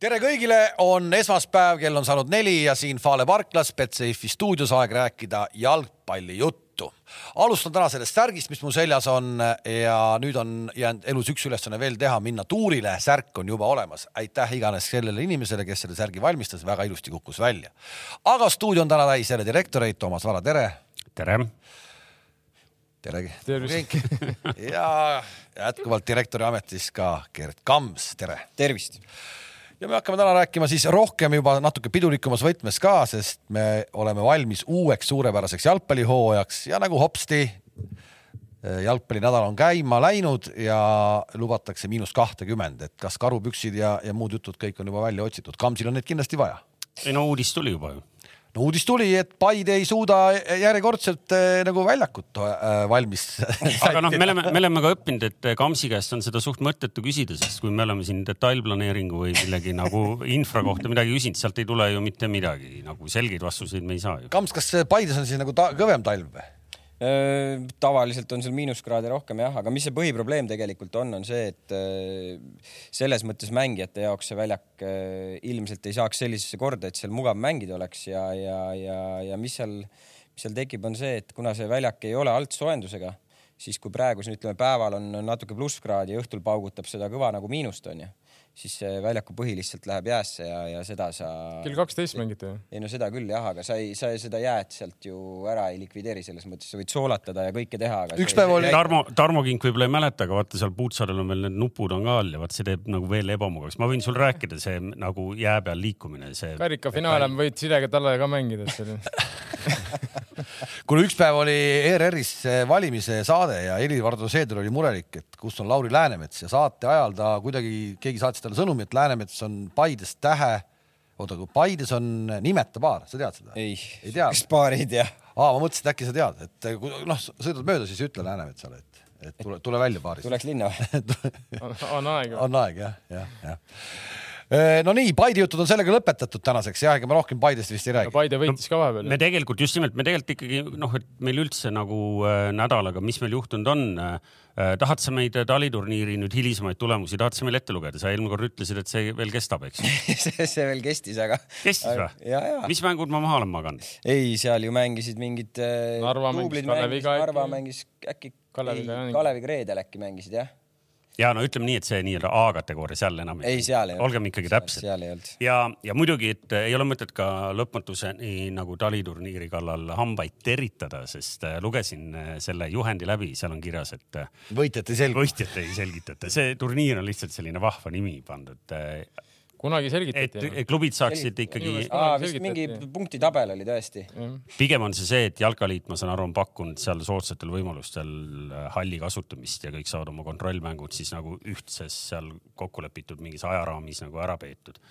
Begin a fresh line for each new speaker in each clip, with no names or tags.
tere kõigile , on esmaspäev , kell on saanud neli ja siin Fale Parklas Betsafe'i stuudios aeg rääkida jalgpallijuttu . alustan täna sellest särgist , mis mul seljas on ja nüüd on jäänud elus üks ülesanne veel teha , minna tuurile , särk on juba olemas . aitäh iganes sellele inimesele , kes selle särgi valmistas , väga ilusti kukkus välja . aga stuudio on täna täis jälle direktoreid , Toomas Vara , tere
tere .
teregi
Tervist. .
ja jätkuvalt direktori ametis ka Gerd Kams , tere .
tervist .
ja me hakkame täna rääkima siis rohkem juba natuke pidulikumas võtmes ka , sest me oleme valmis uueks suurepäraseks jalgpallihooajaks ja nagu hopsti eh, jalgpallinädal on käima läinud ja lubatakse miinus kahtekümmend , et kas karupüksid ja , ja muud jutud kõik on juba välja otsitud , Kamsil on neid kindlasti vaja
ei no uudis tuli juba ju .
no uudis tuli , et Paide ei suuda järjekordselt eh, nagu väljakut eh, valmis
aga noh , me oleme , me oleme ka õppinud , et Kamsi käest on seda suht mõttetu küsida , sest kui me oleme siin detailplaneeringu või millegi nagu infra kohta midagi küsinud , sealt ei tule ju mitte midagi , nagu selgeid vastuseid me ei saa ju .
Kams , kas Paides on siis nagu ta kõvem talv või ?
tavaliselt on seal miinuskraade rohkem jah , aga mis see põhiprobleem tegelikult on , on see , et öö, selles mõttes mängijate jaoks see väljak öö, ilmselt ei saaks sellisesse korda , et seal mugav mängida oleks ja , ja , ja , ja mis seal , mis seal tekib , on see , et kuna see väljak ei ole altsoojendusega , siis kui praegu siin ütleme , päeval on on natuke plusskraadi ja õhtul paugutab seda kõva nagu miinust onju , siis see väljaku põhi lihtsalt läheb jäässe ja , ja seda sa .
kell kaksteist mängite ju ?
ei no seda küll jah , aga sa ei , sa ei- seda jääd sealt ju ära ei likvideeri , selles mõttes sa võid soolatada ja kõike teha , aga .
Üks päev oli-
Tarmo , Tarmo Kink võib-olla ei mäleta , aga vaata seal puutsaarel on veel need nupud on ka all ja vaat see teeb nagu veel ebamugavaks . ma võin sul rääkida , see nagu jää peal liikumine , see .
karika finaal on , võid Sidega talle ka mängida , et seal
kuule , üks päev oli E ERR-is valimise saade ja Helir-Valdor Seeder oli murelik , et kus on Lauri Läänemets ja saate ajal ta kuidagi , keegi saatis talle sõnumi , et Läänemets on Paides tähe . oota , kui Paides on nimeta paar , sa tead seda ?
ei,
ei tea ?
kas paarid jah ?
aa , ma mõtlesin , et äkki sa tead , et kui noh , sõidad mööda , siis ütle Läänemetsale , et , et tule , tule välja paarist .
tuleks linna või ?
on, on aega .
on aeg jah , jah , jah . no nii , Paide jutud on sellega lõpetatud tänaseks jah , ega ma rohkem Paidest vist ei räägi .
Paide võitis ka vahepeal
me
ju .
tegelikult just nimelt , me tegelikult ikkagi noh , et meil üldse nagu äh, nädalaga , mis meil juhtunud on äh, . tahad sa meid äh, taliturniiri nüüd hilisemaid tulemusi , tahad sa meil ette lugeda , sa eelmine kord ütlesid , et see veel kestab , eks .
see see veel kestis , aga .
kestis või
ja , ja .
mis mängud ma maha olen maganud ?
ei , seal ju mängisid mingid .
Narva mängis Kaleviga äkki.
Narva mängis äkki .
Kaleviga jah, mingi-
Kaleviga reedel äkki mängisid jah ?
ja no ütleme nii , et see nii-öelda A-kategooria seal enam
ei , seal ei olnud .
olgem ikkagi täpsed .
seal ei olnud .
ja , ja muidugi , et äh, ei ole mõtet ka lõpmatuseni nagu taliturniiri kallal hambaid teritada , sest äh, lugesin äh, selle juhendi läbi , seal on kirjas , et äh,
võitjat ei selgu .
võitjate ei selgitata , see turniir on lihtsalt selline vahva nimi pandud , et,
kunagi
et
selgitati .
klubid saaksid ikkagi ,
aa , vist mingi
selgitati.
punktitabel oli tõesti .
pigem on see see , et jalkaliit , ma saan aru , on pakkunud seal soodsatel võimalustel äh, halli kasutamist ja kõik saavad oma kontrollmängud siis nagu ühtses seal kokku lepitud mingis ajaraamis nagu ära peetud .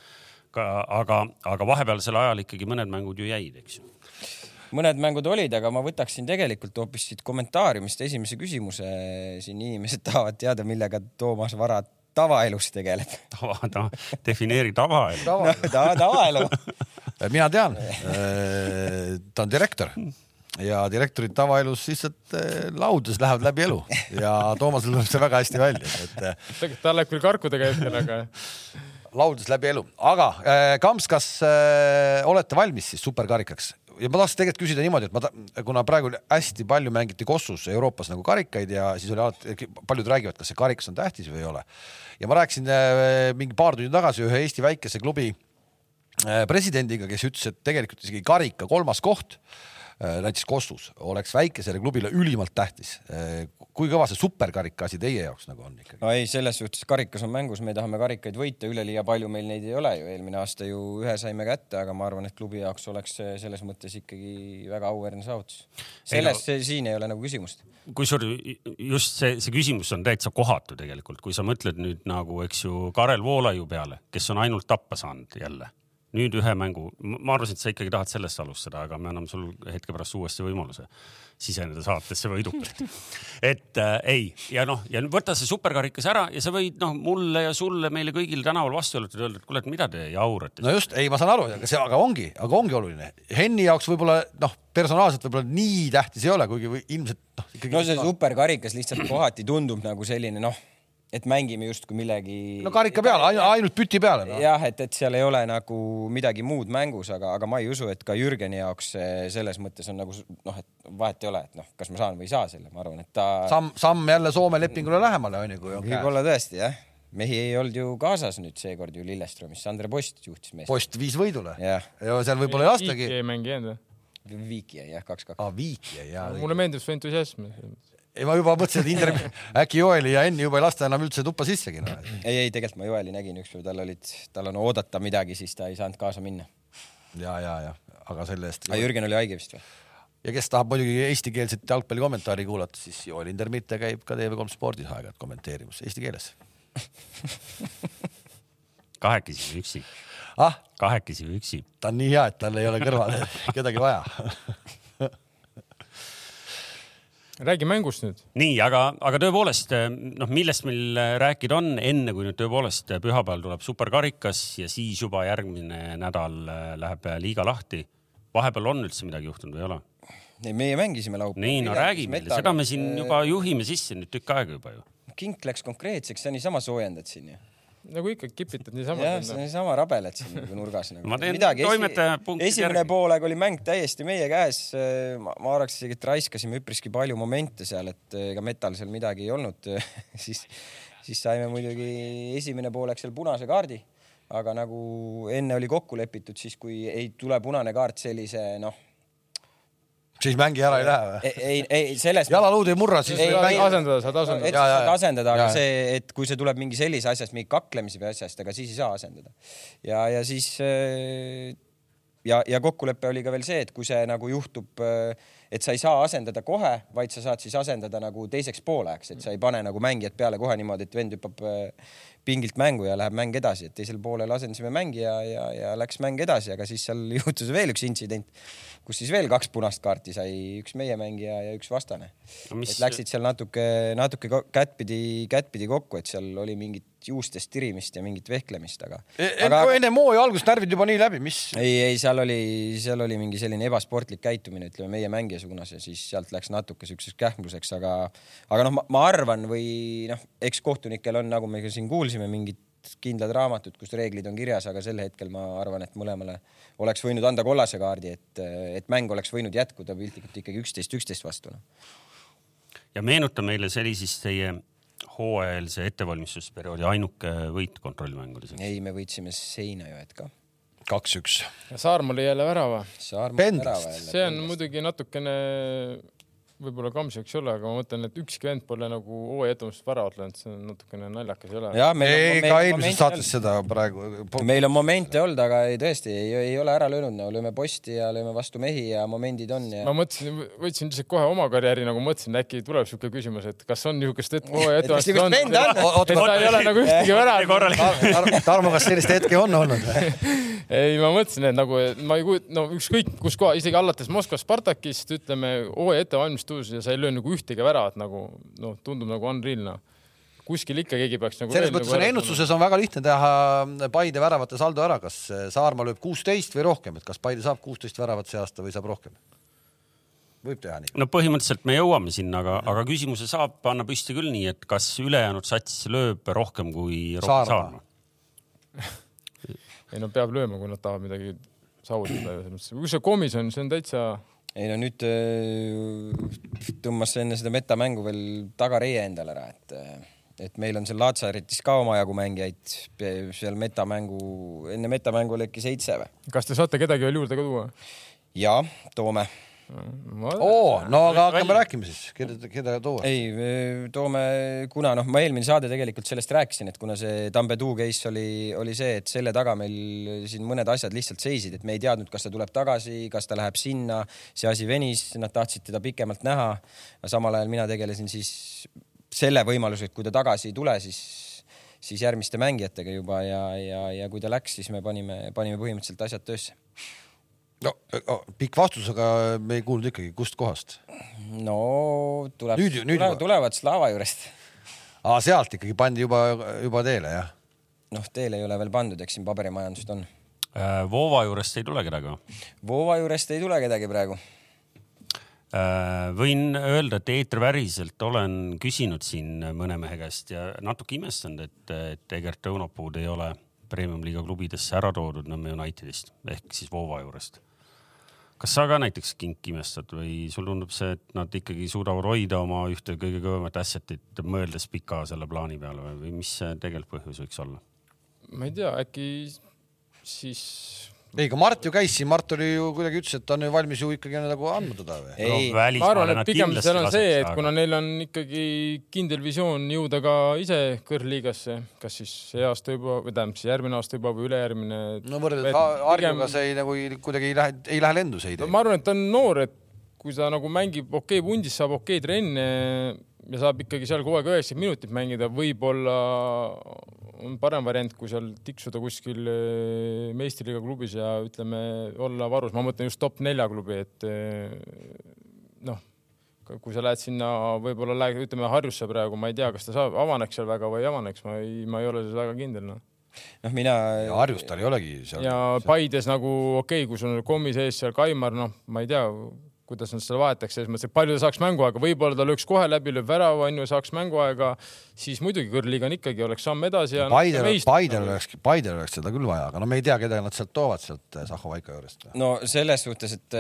aga , aga vahepealsel ajal ikkagi mõned mängud ju jäid , eks ju .
mõned mängud olid , aga ma võtaksin tegelikult hoopis siit kommentaariumist esimese küsimuse . siin inimesed tahavad teada , millega Toomas Vara tavaelus tegeleb .
tava , tava , defineeri tava .
no, ta tavaelu .
mina tean , ta on direktor ja direktorid tavaelus lihtsalt eh, laudes lähevad läbi elu ja Toomasel tuleb see väga hästi välja , et eh,
tal läheb küll karkudega hetkel , aga
laudes läbi elu , aga eh, Kamps , kas eh, olete valmis siis superkarikaks ? ja ma tahtsin tegelikult küsida niimoodi , et ma ta, , kuna praegu hästi palju mängiti Kossus Euroopas nagu karikaid ja siis oli alati , paljud räägivad , kas see karikas on tähtis või ei ole . ja ma rääkisin eh, mingi paar tundi tagasi ühe Eesti väikese klubi äh, presidendiga , kes ütles , et tegelikult isegi karika kolmas koht äh, näiteks Kossus oleks väikesele klubile ülimalt tähtis . kui kõva see superkarika asi teie jaoks nagu on ikkagi ?
no ei , selles suhtes karikas on mängus , me tahame karikaid võita , üleliia palju meil neid ei ole ju , eelmine aasta ju ühe saime kätte , aga ma arvan , et klubi jaoks oleks see selles mõttes ikkagi väga auväärne saavutus . selles , siin ei ole nagu küsimust .
kusjuures just see , see küsimus on täitsa kohatu tegelikult , kui sa mõtled nüüd nagu , eks ju , Karel Voolaiu peale , kes on ainult tappa saanud jälle . nüüd ühe mängu , ma arvasin , et sa ikkagi tahad sellest alustada , aga me anname sul hetke pärast uuesti võimaluse siseneda saatesse võidukalt . et äh, ei , ja noh , ja võta see superkarikas ära ja sa võid noh , mulle ja sulle , meile kõigile tänaval vastu jalutada ja öelda , et kuule , et mida te jaurate .
no just , ei , ma saan aru , aga see , aga ongi , aga ongi oluline . Henni jaoks võib-olla noh , personaalselt võib-olla nii tähtis ei ole , kuigi või ilmselt noh , ikkagi
no see superkarikas lihtsalt kohati tundub nagu selline noh , et mängime justkui millegi .
no karika peale , ainult püti peale noh. no. .
jah , et , et seal ei ole nagu midagi muud mängus , aga , aga ma ei usu , et ka Jürgeni jaoks see selles mõttes on nagu s- noh , et vahet ei ole , et noh , kas ma saan või ei saa selle , ma arvan , et ta
samm , samm jälle Soome lepingule lähemale onju , kui on käes .
võib-olla tõesti jah , mehi ei olnud ju kaasas nüüd seekord ju Lillestroomis , Sander Post juhtis meest .
post viis võidule .
jah ,
seal võib-olla ei lastagi .
ei mängi jäänud või ?
Viiki jäi jah , kaks-kaks .
aa , viiki jäi jaa .
mulle meeldib su entusiasm .
ei , ma juba mõtlesin , et Indrek , äkki Joeli ja Enni juba ei lasta enam üldse tuppa sissegi noh. no. .
ei , ei tegelikult ma Joeli nägin ükspäev , tal olid , tal on oodata midagi , siis ta ei saanud kaasa minna .
ja , ja , ja , aga selle eest .
aga Jürgen oli haige vist või ?
ja kes tahab muidugi eestikeelset jalgpalli kommentaari kuulata , siis Joel Indermitte käib ka TV3 spordis aeg-ajalt kommenteerimas eesti keeles .
kahekesi või üksi ,
ah ,
kahekesi või üksi .
ta on nii hea , et tal ei ole kõrvale kedagi vaja .
räägi mängust nüüd .
nii , aga , aga tõepoolest noh , millest meil rääkida on , enne kui nüüd tõepoolest eh, pühapäeval tuleb superkarikas ja siis juba järgmine nädal eh, läheb liiga lahti . vahepeal on üldse midagi juhtunud või ei ole ?
ei , meie mängisime laupäeval .
nii , no räägi meile , seda me siin juba juhime sisse nüüd tükk aega juba ju .
kink läks konkreetseks , sa niisama soojendad siin ju .
nagu ikka kipitad niisama
jah ,. sa niisama rabeled siin nagu nurgas nagu .
noh. Ma teen toimetaja punktid
esimene
järgi.
poolaeg oli mäng täiesti meie käes . ma, ma arvaks isegi , et raiskasime üpriski palju momente seal , et äh, ega metal seal midagi ei olnud . siis , siis saime muidugi esimene poolaeg seal punase kaardi . aga nagu enne oli kokku lepitud , siis kui ei tule punane kaart sellise noh ,
siis mängi ära ei lähe või ?
ei , ei, ei , selles .
jalaluud ei murra , siis
Ei,
võib mängida .
asendada saad asendada.
et
Jaa,
sa
jaa,
saad
jaa.
asendada , aga
Jaa.
see , et kui see tuleb mingi sellise asjast , mingi kaklemise või asjast , ega siis ei saa asendada . ja , ja siis äh, ja , ja kokkulepe oli ka veel see , et kui see nagu juhtub , et sa ei saa asendada kohe , vaid sa saad siis asendada nagu teiseks pooleks , et sa ei pane nagu mängijad peale kohe niimoodi , et vend hüppab äh, pingilt mängu ja läheb mäng edasi , et teisel poolel asendasime mängija ja , ja läks mäng edasi , aga siis seal juhtus veel üks intsident , kus siis veel kaks punast kaarti sai , üks meie mängija ja üks vastane
No mis-
et läksid seal natuke , natuke ko- kättpidi , kättpidi kokku , et seal oli mingit juustest tirimist ja mingit vehklemist , aga .
E,
aga
enne mooja algust närvid juba nii läbi , mis
ei , ei seal oli , seal oli mingi selline ebasportlik käitumine , ütleme meie mängija suunas ja siis sealt läks natuke siukseks kähmluseks , aga , aga noh , ma arvan või noh , eks kohtunikel on , nagu me ka siin kuulsime , mingid kindlad raamatud , kus reeglid on kirjas , aga sel hetkel ma arvan , et mõlemale oleks võinud anda kollase kaardi , et , et mäng oleks võinud jätkuda piltlikult ikkagi üksteist , üksteist vastu noh.
ja meenuta meile , see oli siis teie hooajalise ettevalmistusperioodi ainuke võit kontrollmängudes .
ei , me võitsime Seinajõed ka .
kaks-üks .
Saarma oli jälle värava .
Pendlist.
see
see on muidugi natukene võib-olla kamps , eks ole , aga ma mõtlen , et ükski vend pole nagu hooaja jätmist väravat löönud , see on natukene naljakas , ei ole ?
jah ,
ei ,
meil
ka
on
eelmises saates . seda praegu .
meil on momente olnud , aga ei tõesti ei, ei ole ära löönud , no lööme posti ja lööme vastu mehi ja momendid on ja
ma . mõtlesin , võtsin lihtsalt kohe oma karjääri nagu mõtlesin , äkki tuleb siuke küsimus , et kas on niisugust et- hooaja
kas niisugust
ettevalmistust
venda on?
O- oot-
et ta ei ole nagu ühtegi väravat .
korralik .
Tarmo , kas sellist hetke on olnud ?
ei , ma mõtlesin , et nagu et ma ei kujuta , no ükskõik kus koha , isegi alates Moskva Spartakist ütleme hooaja ettevalmistus ja sa ei löö nagu ühtegi väravat nagu noh , tundub nagu unreal noh . kuskil ikka keegi peaks nagu .
selles mõttes on . ennustuses on väga lihtne teha äh, Paide väravate saldo ära , kas äh, Saarma lööb kuusteist või rohkem , et kas Paide saab kuusteist väravat see aasta või saab rohkem ? võib teha nii .
no põhimõtteliselt me jõuame sinna , aga , aga küsimuse saab panna püsti küll nii , et kas ülejäänud sats lööb rohkem kui Rohke
Saarma.
Saarma .
ei no peab lööma , kui nad tahavad midagi saavutada ju selles mõttes , kui see komis on , see on täitsa ,
ei no nüüd öö, tõmbas see enne seda metamängu veel tagareie endale ära , et , et meil on seal Laatsaretis ka omajagu mängijaid pe- seal metamängu , enne metamängu oli äkki seitse või ?
kas te saate kedagi veel juurde ka tuua ?
ja toome
ma
oo , no aga hakkame
Välja.
rääkima siis , keda , keda tuua .
ei , toome , kuna noh , ma eelmine saade tegelikult sellest rääkisin , et kuna see Tambedu case oli , oli see , et selle taga meil siin mõned asjad lihtsalt seisid , et me ei teadnud , kas ta tuleb tagasi , kas ta läheb sinna , see asi venis , nad tahtsid teda pikemalt näha . samal ajal mina tegelesin siis selle võimalusega , et kui ta tagasi ei tule , siis , siis järgmiste mängijatega juba ja , ja , ja kui ta läks , siis me panime , panime põhimõtteliselt asjad töösse .
no äh, oh, pikk vastus , aga me ei kuulnud ikkagi , kust kohast .
no tuleb ,
Nüüd ju- nüüd
tulevad,
juba.
tulevad Slava juurest
aa , sealt ikkagi pandi juba , juba teele , jah ?
noh , teele ei ole veel pandud , eks siin paberimajandust on
Äh, Voova juurest ei tule kedagi või ?
Voova juurest ei tule kedagi praegu .
Äh, võin öelda , et eetriväriselt olen küsinud siin mõne mehe käest ja natuke imestanud , et , et Egert Õunapuud ei ole premium-liiga klubidesse ära toodud Nõmme Unitedist ehk siis Voova juurest . kas sa ka näiteks kink imestad või sul tundub see , et nad ikkagi suudavad hoida oma ühte kõige kõvemat asset'it , mõeldes pika selle plaani peale või- või mis see tegelik põhjus võiks olla ?
ma ei tea , äkki siis
ei , aga Mart ju käis siin , Mart oli ju kuidagi ütles , et ta on ju valmis ju ikkagi nagu andma teda või ?
ei ,
ma arvan , et pigem seal on see , et kuna neil on ikkagi kindel visioon jõuda ka ise kõrgliigasse , kas siis see aasta juba või tähendab siis järgmine aasta juba või ülejärgmine .
no võrreldes Ha- Harjuga see ei nagu ei- kuidagi ei lähe , ei lähe lendu see idee
no . ma arvan , et ta on noor , et kui ta nagu mängib okei pundis , saab okei trenne ja saab ikkagi seal kogu aeg üheksakümmend minutit mängida , võib-olla on parem variant , kui seal tiksuda kuskil eh, meistriliiga klubis ja ütleme , olla varus , ma mõtlen just top nelja klubi , et eh, noh , kui sa lähed sinna , võib-olla lähed , ütleme Harjusse praegu , ma ei tea , kas ta saab , avaneks seal väga või ei avaneks , ma ei , ma ei ole selles väga kindel noh .
noh , mina ,
Harjus tal ei olegi seal .
ja Paides nagu okei okay, , kui sul on kommi sees seal Kaimar , noh , ma ei tea , kuidas nad seda vahetaks , selles mõttes , et palju ta saaks mänguaega , võib-olla ta lööks kohe läbi , lööb värava , onju , saaks mänguaega , siis muidugi kõrgliiga on ikkagi , oleks samm edasi ja .
Paidel , Paidel oleks , Paidel oleks seda küll vaja , aga no me ei tea , keda nad sealt toovad sealt Zahhovaika juurest .
no selles suhtes , et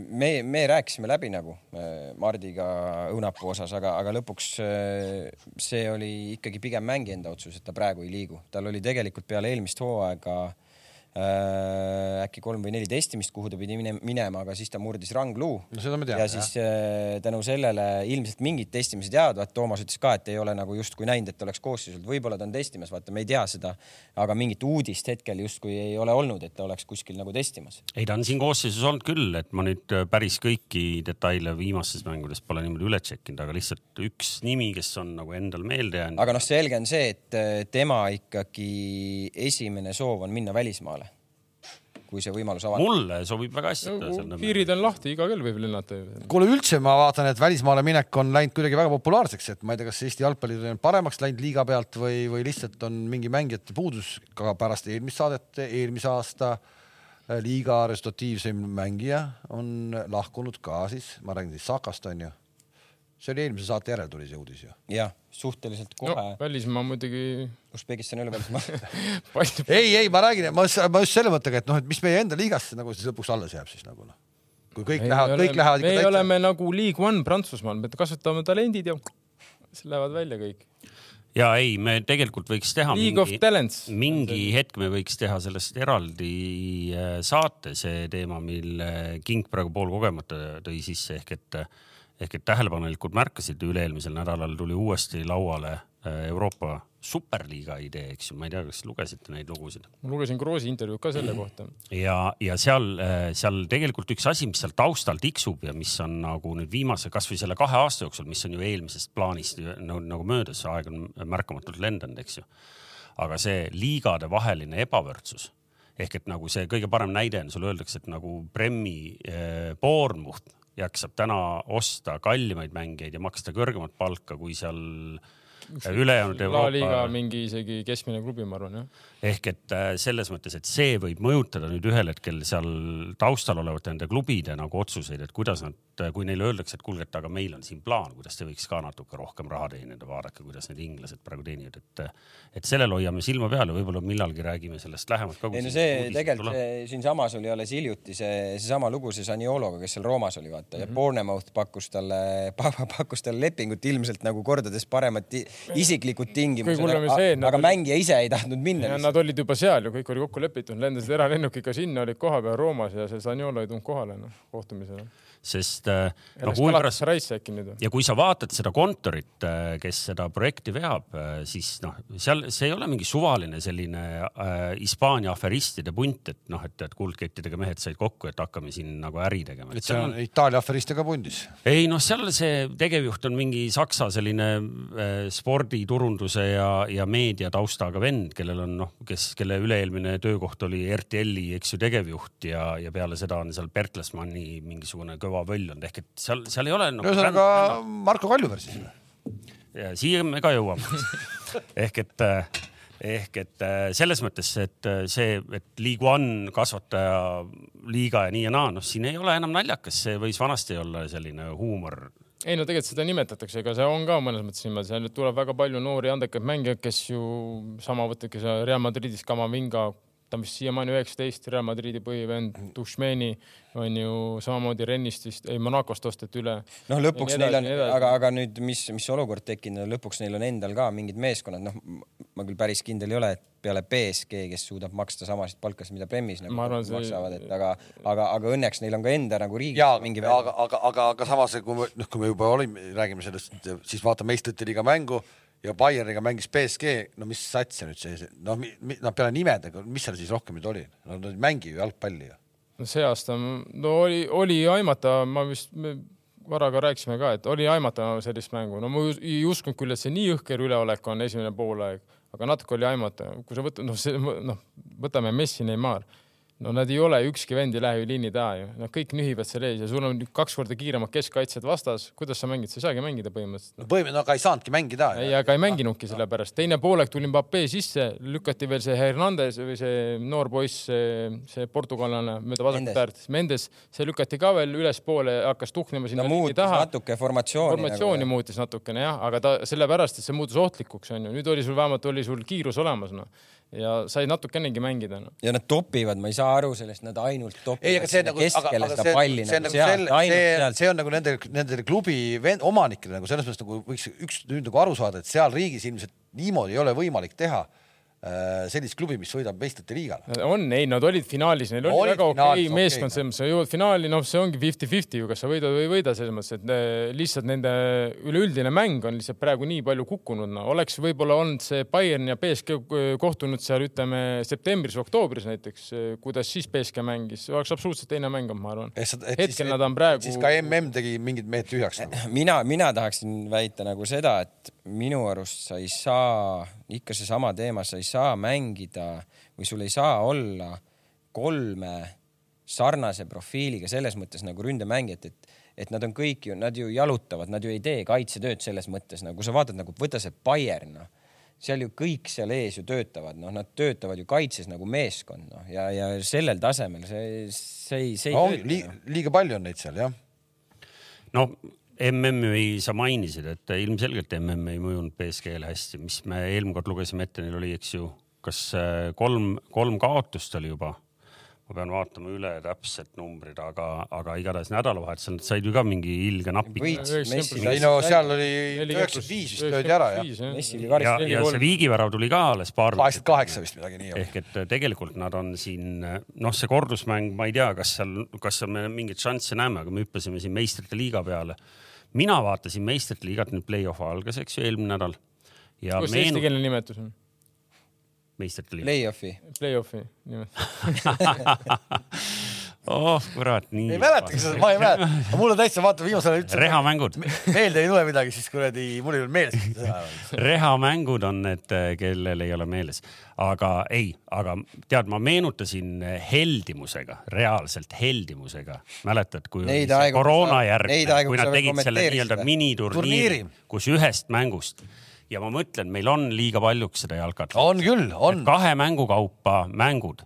äh, me , me rääkisime läbi nagu äh, Mardiga õunapuu osas , aga , aga lõpuks äh, see oli ikkagi pigem mängija enda otsus , et ta praegu ei liigu . tal oli tegelikult peale eelmist hooaega äh, äkki kolm või neli testimist , kuhu ta pidi mine- minema , aga siis ta murdis rangluu
no seda me teame .
ja siis äh, tänu sellele ilmselt mingid testimised jäävad , vaat Toomas ütles ka , et ei ole nagu justkui näinud , et oleks koosseisult , võib-olla ta on testimas , vaata , me ei tea seda , aga mingit uudist hetkel justkui ei ole olnud , et ta oleks kuskil nagu testimas .
ei , ta on siin koosseisus olnud küll , et ma nüüd äh, päris kõiki detaile viimastes mängudes pole niimoodi üle tšekkinud , aga lihtsalt üks nimi , kes on nagu endal meelde jäänud .
aga noh , selge on see , et äh, tema ikkagi esimene soov on minna välismaale , kui see võimalus avaneb .
mulle sobib väga hästi ta seal Nõmme .
piirid on lahti , iga kell võib lennata ju .
kuule üldse ma vaatan , et välismaale minek on läinud kuidagi väga populaarseks , et ma ei tea , kas Eesti jalgpallid on paremaks läinud liiga pealt või , või lihtsalt on mingi mängijate puudus ka pärast eelmist saadet , eelmise aasta äh, liiga resultatiivsem mängija on lahkunud ka siis , ma räägin siis Sakast onju . see oli eelmise saate järel tuli see uudis ju .
jah , suhteliselt kohe
no
no.
välismaa muidugi .
Usbekistani ülepealt .
palju ,
ei , ei , ma räägin , ma , ma just selle mõttega , et noh , et mis meie enda liigasse nagu siis lõpuks alles jääb siis nagu noh . kui kõik
Ei,
lähevad ,
me
kõik
oleme-
lähevad
me
ikka täitsa .
oleme nagu League One Prantsusmaal , me kasvatame talendid ja siis lähevad välja kõik .
ja ei , me tegelikult võiks teha .
League of Talents .
mingi hetk me võiks teha sellest eraldi äh, saate see teema , mille King praegu poolkogemata tõi sisse ehk et , ehk et tähelepanelikult märkasid , üle-eelmisel nädalal tuli uuesti lauale äh, Euroopa superliiga idee , eks ju , ma ei tea , kas lugesite neid lugusid
ma lugesin Kroosi intervjuud ka selle kohta .
ja , ja seal , seal tegelikult üks asi , mis seal taustal tiksub ja mis on nagu nüüd viimase , kasvõi selle kahe aasta jooksul , mis on ju eelmisest plaanist ju nagu, nagu möödas , aeg on märkamatult lendanud , eks ju . aga see liigade vaheline ebavõrdsus ehk et nagu see kõige parem näide on , sulle öeldakse , et nagu Premi eh, Bournemouth jaksab täna osta kallimaid mängijaid ja maksta kõrgemat palka kui seal äh, ülejäänud
La Liga
Euroopa
mingi isegi keskmine klubi , ma arvan jah .
ehk et äh, selles mõttes , et see võib mõjutada nüüd ühel hetkel seal taustal olevate nende klubide nagu otsuseid , et kuidas nad , kui neile öeldakse , et kuulge , et aga meil on siin plaan , kuidas te võiks ka natuke rohkem raha teenida , vaadake , kuidas need inglased praegu teenivad , et , et sellel hoiame silma peal ja võib-olla millalgi räägime sellest lähemalt ka .
ei no see tegelikult see siinsamas oli alles hiljuti see , seesama lugu see Saniologa , kes seal Roomas oli , vaata
Mhm.
ja Bournemouth pakkus talle pa, , pakkus talle lepingut ilmselt nagu kordades paremat ti- isiklikud tingimused ,
Kõige hullem oli
aga,
see, et nad
aga
olid-
mängija ise ei tahtnud minna
ja . nad olid juba seal ju , kõik oli kokku lepitud , lendasid eralennukiga sinna , olid kohapeal Roomas ja see Saniolo ei tulnud kohale noh , kohtumisele .
sest äh,
Läks
noh ,
no,
Ulbras
Galatasarysse äkki nüüd või ?
ja kui sa vaatad seda kontorit , kes seda projekti veab , siis noh , seal see ei ole mingi suvaline selline äh, Hispaania aferistide punt , et noh , et , et kuldkettidega mehed said kokku , et hakkame siin nagu äri tegema .
et see on Itaalia aferistega pundis .
ei noh , seal see tegevjuht on mingi Saksa selline äh, sporditurunduse ja , ja meediataustaga vend , kellel on noh , kes , kelle üle-eelmine töökoht oli RTL-i , eks ju , tegevjuht ja , ja peale seda on seal Bertelsmanni mingisugune kõva völl olnud ehk et seal , seal ei ole nagu
ühesõnaga Marko Kaljuveer siis või ?
ja siia me ka jõuame . ehk et , ehk et äh, selles mõttes , et äh, see , et League One kasvataja liiga ja nii ja naa , noh , siin ei ole enam naljakas , see võis vanasti olla selline huumor .
ei no tegelikult seda nimetatakse , ega see on ka mõnes mõttes niimoodi , seal nüüd tuleb väga palju noori andekaid mängijaid , kes ju sama võtadki seal Real Madridis Kamavinga , ta on vist siiamaani üheksateist , Real Madridi põhivend , Dušmeni on ju samamoodi Rennist vist , ei Monacost osteti üle .
noh , lõpuks
Ja nii
neil
edasi,
on
nii , edasi.
aga , aga nüüd , mis , mis olukord tekkinud on , lõpuks neil on endal ka mingid meeskonnad , noh , ma küll päris kindel ei ole , et peale BSG , kes suudab maksta samasid palkasid , mida Premis nagu
Ma arvan, see-
maksavad , et aga , aga , aga õnneks neil on ka enda nagu riigis
ja
mingi
aga , aga , aga, aga , aga samas , kui me , noh , kui me juba olime , räägime sellest , siis vaata meistrite liiga mängu ja Bayerniga mängis BSG , no mis sats see nüüd see , noh , no peale nimedega , mis seal siis rohkem nüüd oli , no nad ei mängi ju jalgpalli ju .
no see aasta , no oli , oli aimata , ma vist , me korra ka rääkisime ka , et oli aimata sellist mängu , no ma ju- ei uskunud küll , et see nii õhker üleolek on esimene poolaeg , aga natuke oli aimata , kui sa võtad , noh , see , noh , võtame Messi , Neimar , no nad ei ole , ükski vend ei lähe ju liini taha ju , nad kõik nühivad seal ees ja sul on kaks korda kiiremad keskkaitsjad vastas , kuidas sa mängid , sa ei saagi mängida põhimõtteliselt .
no põhimõtteliselt , no aga ei saanudki mängida .
ei , aga ei mänginudki sellepärast , teine poolek tuli Mbappe sisse , lükati veel see Hernandez või see noor poiss , see, see portugallane mööda
Mendes.
vasakut äärt , Mendes , see lükati ka veel ülespoole , hakkas tuhnima
no
sinna
muutis nagu, natuke formatsiooni .
formatsiooni muutis natukene jah , aga ta sellepärast , et see muutus ohtlikuks onju , nüüd oli sul vähemalt oli sul kiirus olemas noh ja sai natukenegi mängida noh .
ja nad topivad , ma ei saa aru sellest , nad ainult topivad .
ei , aga see nagu , aga ,
keskele
aga
seda
see ,
palli
see on nagu
sealt,
selle ,
ainult
see ,
sealt.
see on nagu nende , nendele klubi ven- omanikele nagu selles mõttes nagu võiks üks nüüd nagu aru saada , et seal riigis ilmselt niimoodi ei ole võimalik teha äh, sellist klubi , mis võidab meistrite liigal .
on , ei , nad olid finaalis , neil oli,
Olid
oli väga okei
finaalis,
okay,
okei, jah.
meeskond okay, , selles mõttes , sa jõuad finaali , noh , see ongi fifty-fifty ju , kas sa võidad või ei võida , selles mõttes , et ne- lihtsalt nende üleüldine mäng on lihtsalt praegu nii palju kukkunud , no oleks võib-olla olnud see Bayern ja BSK eh, kohtunud seal , ütleme septembris-oktoobris näiteks , kuidas siis BSK mängis , oleks absoluutselt teine mäng olnud , ma arvan . hetkel nad on praegu
siis ka mm tegi mingid mehed tühjaks nagu. .
mina , mina tahaksin väita nagu seda , et minu arust sa ei saa , ikka seesama teema , sa ei saa mängida või sul ei saa olla kolme sarnase profiiliga selles mõttes nagu ründemängijat , et , et nad on kõik ju , nad ju jalutavad , nad ju ei tee kaitsetööd selles mõttes nagu sa vaatad nagu võta see Bayern noh seal ju kõik seal ees ju töötavad , noh , nad töötavad ju kaitses nagu meeskond , noh , ja , ja sellel tasemel see , see ei , see ei
ongi
tööta,
li,
noh.
liiga palju on neid seal jah .
no MM-i sa mainisid , et ilmselgelt MM ei mõjunud BSG-le hästi , mis me eelmine kord lugesime ette , neil oli , eks ju , kas äh, kolm , kolm kaotust oli juba . ma pean vaatama üle täpsed numbrid , aga , aga igatahes nädalavahetusel nad said ju ka mingi ilge napi .
võitsid Messi
ei no seal oli
nelikümmend
üheksakümmend
kuus-
viis vist löödi ära jah .
üheksakümmend viis, jah.
Messi oli
ja ,
karistatud .
ja see viigivärav tuli ka alles paar .
kaheksakümmend kaheksa vist midagi nii oli .
ehk et äh, tegelikult nad on siin , noh , see kordusmäng , ma ei tea , kas seal , kas seal me mingeid šansse näeme , aga me hüppasime siin meistrite liiga peale . mina vaatasin meistrite liigat , nüüd play-off algas , eks ju , eelmine nädal . ja
kus see
meenu- ,
eestikeelne nimetus on ?
meistrite liiga .
Play-off'i .
Play-off'i nimetus .
oh kurat , nii .
ei mäletagi seda , ma ei mäleta , mul on täitsa vaata viimasel ajal üldse
rehamängud ,
meelde ei tule midagi , siis kuradi mul ei olnud meeles seda .
rehamängud on need , kellel ei ole meeles , aga ei , aga tead , ma meenutasin eh, heldimusega , reaalselt heldimusega , mäletad , kui oli
Neid
see
aegu, kus
koroona
sa- neid
järgne ,
aegu,
kui
kus sa
nad
veel
tegid selle
kommenteerisid
nii-öelda
või?
miniturniiri
Turniiri. ,
kus ühest mängust ja ma mõtlen , meil on liiga paljuks seda jalkat .
on küll , on .
kahe mängu kaupa mängud .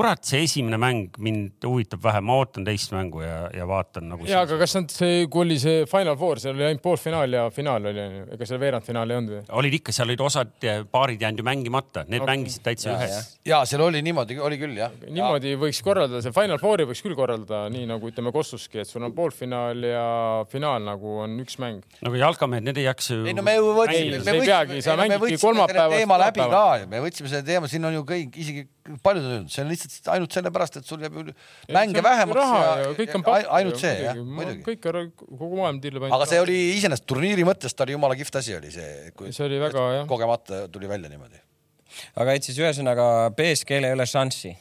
kurat , see esimene mäng mind huvitab vähe , ma ootan teist mängu ja , ja vaatan nagu .
ja , aga kas nad , see , kui oli see Final Four , seal oli ainult poolfinaal ja finaal oli , ega seal veerandfinaali ei olnud või ?
olid ikka , seal olid osad paarid jäänud ju mängimata , need okay. mängisid täitsa ühes .
ja seal oli niimoodi , oli küll jah .
niimoodi võiks korraldada , see Final Fouri võiks küll korraldada , nii nagu ütleme Kossuski , et sul on poolfinaal ja finaal nagu on üks mäng .
no aga jalkamehed , need ei jaksa ju .
ei no me ju
Ei,
võtsime ,
Nagu sa
me
ei peagi,
võtsime
sa , mängidki kolmapäevast
teema läbi ka
laupäevani.
ju , me võtsime selle teema , siin on ju kõik , isegi paljud on öelnud , see on lihtsalt ainult sellepärast , et sul jääb ju mänge vähemaks
raha
ja,
ja kõik on
ja ai- ainult see jah , muidugi .
kõik on , kogu maailm tiirleb ainult .
aga see oli iseenesest turniiri mõttes , ta oli jumala kihvt asi oli see , kui
see oli väga jah ,
kogemata tuli välja niimoodi .
aga et siis ühesõnaga BSG-l ei ole šanssi .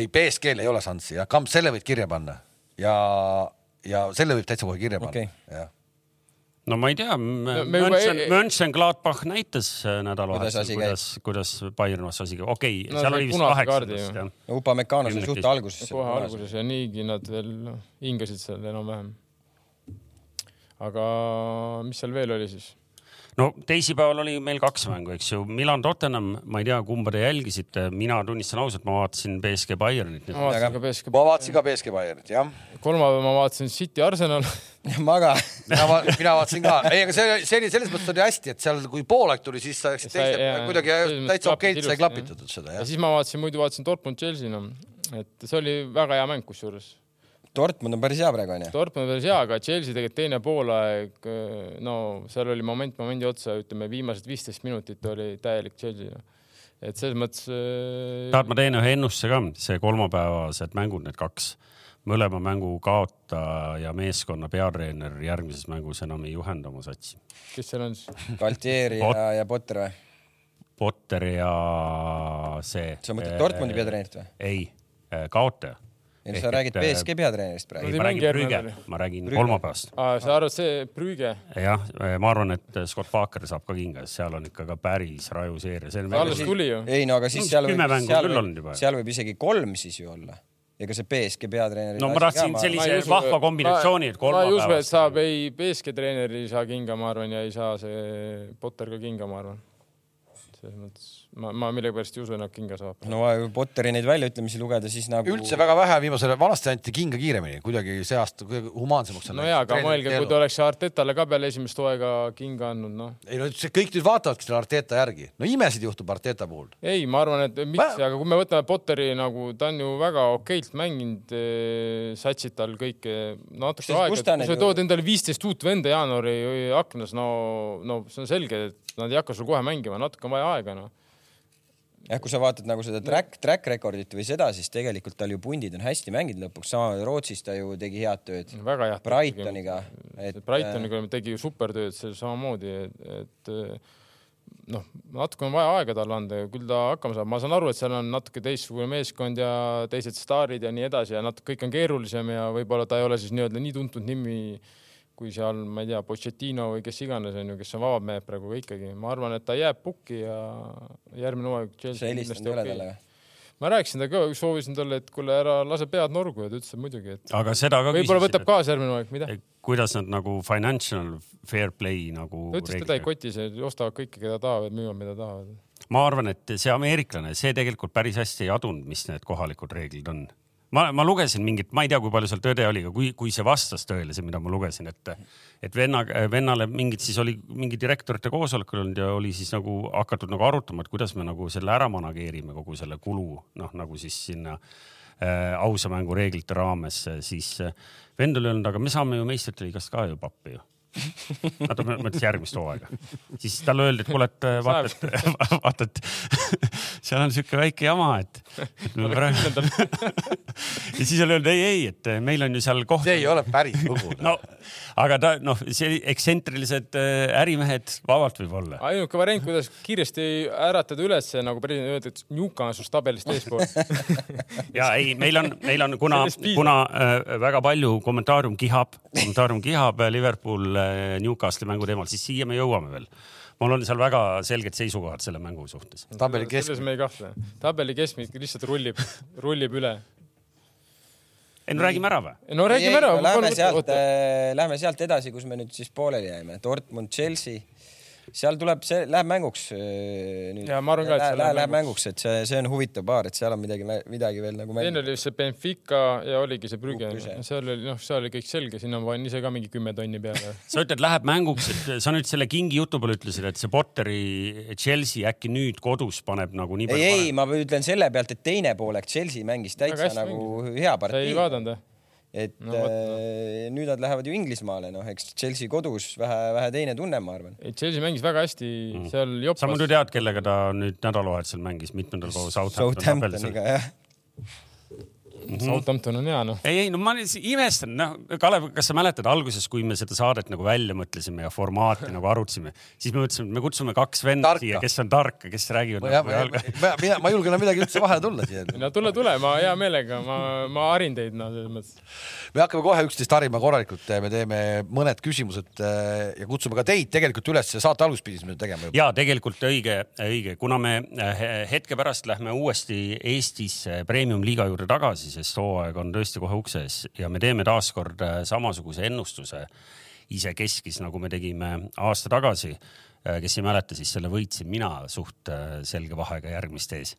ei , BSG-l ei ole šanssi jah , Kamps , selle võid kirja panna ja , ja selle võib täitsa kohe kirja panna
Okei.
okay. , jah .
no ma ei tea ,
me juba
Mönchen ,
ei-
Mönchen Gladbach näitas äh,
Kuidas asi
nädalavahetusel , kuidas , kuidas Bayern vastas asi , okei okay,
No
no, , seal
see
oli vist
punase
kaheksa
kaardi
vist
ju.
jah .
Upa Mekano sai suht
Kümnekesi.
alguses .
kohe alguses ja niigi nad veel noh, hingasid seal enam-vähem . aga mis seal veel oli siis ?
no teisipäeval oli meil kaks mängu , eks ju , Milan Tottenham , ma ei tea , kumba te jälgisite , mina tunnistan ausalt , ma vaatasin BSG Bayernit nüüd .
ma vaatasin ka BSK ,
ma vaatasin ka BSG Bayernit , jah .
kolmapäeval ma vaatasin City Arsenal ,
maga .
mina , mina vaatasin ka , ei , aga see , see oli selles mõttes oli hästi , et seal , kui poolaeg tuli , siis sa läksid
Sai-
teise
jaa, ,
kuidagi
selles mõttes
täitsa okeilt
klapid
sai
ilusti,
klapitatud seda
ja
jah .
siis ma vaatasin , muidu vaatasin Dortmund Chelsea , noh , et see oli väga hea mäng kusjuures .
Dortmund on päris hea praegu onju .
Dortmund päris hea , aga Chelsea tegelikult teine poolaeg , no seal oli moment momendi otsa , ütleme viimased viisteist minutit oli täielik Chelsea . et selles mõttes äh,
tahad , ma teen ühe ennustuse ka , see kolmapäevased mängud , need kaks , mõlema mängu kaotaja meeskonna peatreener järgmises mängus enam ei juhenda oma satsi .
kes seal on siis ,
Galtieri
Ot-
ja , ja Potter või ?
Potter ja see .
Sa mõtled Dortmundi peatreenerit või? ?
ei , kaotaja .
ei , sa räägid BSG peatreenerist praegu .
äh, ei ,
Nad
ma
ei
räägin
mängi järgmine
Brüge
nädal. ,
ma räägin kolmapäevast .
Ah, sa arvad , see Brüge ,
jah , ma arvan , et Scott Parker saab ka kinga , sest seal on ikka ka päris raju seeria .
alles tuli ju .
ei no aga siis
No,
seal
kümme mängu
seal
küll
võib-
olnud juba.
seal võib isegi kolm siis ju olla . ega see BSG peatreener .
No ma tahtsin sellise- See vahva kombinatsiooni, et
ma ei usu , et
kolmapäevast-
saab , ei BSK treener ei saa kinga , ma arvan , ja ei saa see Potter ka kinga , ma arvan . selles mõttes ma , ma millegipärast ei usu , et nad kinga saab .
no vaja Potteri neid väljaütlemisi lugeda , siis nagu .
üldse väga vähe viimasel ajal , vanasti anti kinga kiiremini , kuidagi see aasta kuidagi humaansemaks .
no jaa , aga mõelge , kui ta oleks Artetale ka peale esimest hooaega kinga andnud , noh .
ei no see kõik nüüd vaatavadki selle Arteta järgi , no imesid juhtub Arteta puhul .
ei , ma arvan , et miks ,
Ma-
aga kui me võtame Potteri nagu , ta on ju väga okeilt mänginud , satsid tal kõike natuke
Sest
aega ,
kus
et
ta
kui
need
sa
ju-
tood endale viisteist uut venda jaanuari aknas , no , no see on selge , et nad ei hakka sul kohe mängima , natuke on vaja aega , noh .
jah , kui sa vaatad nagu seda track , track record'it või seda , siis tegelikult tal ju pundid on hästi mänginud lõpuks , sama Rootsis ta ju tegi head tööd .
väga hea .
Brightoniga , et äh,
et . Brightoniga tegi ju supertööd seal samamoodi , et, et noh , natuke on vaja aega talle anda ja küll ta hakkama saab , ma saan aru , et seal on natuke teistsugune meeskond ja teised staarid ja nii edasi ja natuke kõik on keerulisem ja võib-olla ta ei ole siis nii-öelda nii tuntud nimi kui seal , ma ei tea , Pochettino või kes iganes on ju , kes on vabad mehed praegu ikkagi , ma arvan , et ta jääb pukki ja järgmine hooaeg .
sa helistanud ei ole talle või ?
ma rääkisin temaga , soovisin talle , et kuule , ära lase pead norgu ja ta ütles et muidugi , et
aga seda ka
võib-olla
küsisin,
võtab kaasa järgmine hooaeg , mida .
et kuidas nad nagu financial fair play nagu .
ta ütles , et teda ei koti see , ostavad kõike , keda tahavad , müüvad , mida tahavad .
ma arvan , et see ameeriklane , see tegelikult päris hästi ei adunud , mis need kohalikud reeglid on . ma , ma lugesin mingit , ma ei tea , kui palju seal tõde oli , aga kui , kui see vastas tõele , see , mida ma lugesin , et , et venna , vennale mingid siis oli mingi direktorite koosolekul olnud ja oli siis nagu hakatud nagu arutama , et kuidas me nagu selle ära manageerime , kogu selle kulu , noh nagu siis sinna äh, ausa mängu reeglite raames , siis äh, vend oli öelnud , aga me saame ju meistrite-liigast ka ju pappi ju vaata , ma mõtlesin järgmist hooaega . siis talle öeldi , et kuule , et äh, vaata , et vaata , et seal on sihuke väike jama , et . ja siis oli öelnud ei , ei , et äh, meil on ju seal koht .
see ei ole päris lugu .
no aga ta noh , see ekstsentrilised äh, ärimehed vabalt võib olla .
ainuke variant , kuidas kiiresti äratada üles nagu president öeldi , et Newcastle on sinust tabelist eespool .
ja ei , meil on , meil on , kuna
Sellest , piisab.
kuna äh, väga palju kommentaarium kihab , kommentaarium kihab äh, Liverpool äh, Newcastle'i mängu teemal , siis siia me jõuame veel . mul on seal väga selged seisukohad selle mängu suhtes .
tabeli
selles
keskmine ,
me ei kahtle . tabeli keskmik lihtsalt rullib , rullib üle .
ei no räägime ära või ?
no räägime ära .
Lähme sealt , äh, lähme sealt edasi , kus me nüüd siis pooleli jäime , Dortmund , Chelsea . seal tuleb , see läheb mänguks äh, nüüd .
Jaa, ma arvan ka, et see
läheb, läheb mänguks , et see , see on huvitav paar , et seal on midagi , midagi veel nagu
teine
mängida .
oli see Benfica ja oligi see Brügge
Brügge. ,
seal oli noh , seal oli kõik selge , sinna ma panin ise ka mingi kümme tonni peale .
sa ütled , läheb mänguks , et sa nüüd selle kingi jutu peale ütlesid , et see Potteri Chelsea äkki nüüd kodus paneb nagu nii
ei ,
palju
ei , ma ütlen selle pealt , et teine poolek Chelsea mängis täitsa
hästi
nagu hea
sa ei
partii .
vaadanud või ?
et
No
no,
vot, noh.
äh, nüüd nad lähevad ju Inglismaale , noh , eks Chelsea kodus vähe , vähe teine tunne , ma arvan .
ei , Chelsea mängis väga hästi , seal
sa
jopas
muidu . tead , kellega ta nüüd nädalavahetusel mängis , mitmendal koos Southamptoni .
Southamptoniga jah .
Southampton on hea noh .
ei , ei no ma lihtsalt imestan , noh , Kalev , kas sa mäletad alguses , kui me seda saadet nagu välja mõtlesime ja formaati nagu arutasime , siis me mõtlesime , et me kutsume kaks venda
Tarka.
siia , kes on tarka , kes räägivad . nagu
ma , ma , mina , ma ei julge enam midagi üldse vahele tulla siia .
no tule , tule , ma hea meelega , ma , ma harin teid no selles mõttes .
me hakkame kohe üksteist harima korralikult , me teeme mõned küsimused äh, ja kutsume ka teid tegelikult üles , saate alguses pidime seda tegema juba .
ja tegelikult õige , õige , kuna me äh, hetke pärast lähme uuesti Eestis äh, premium-liiga juurde tagasi , sest hooaeg on tõesti kohe ukse ees ja me teeme taaskord äh, samasuguse ennustuse ise keskis , nagu me tegime aasta tagasi . kes ei mäleta , siis selle võitsin mina suht äh, selge vahega järgmist ees .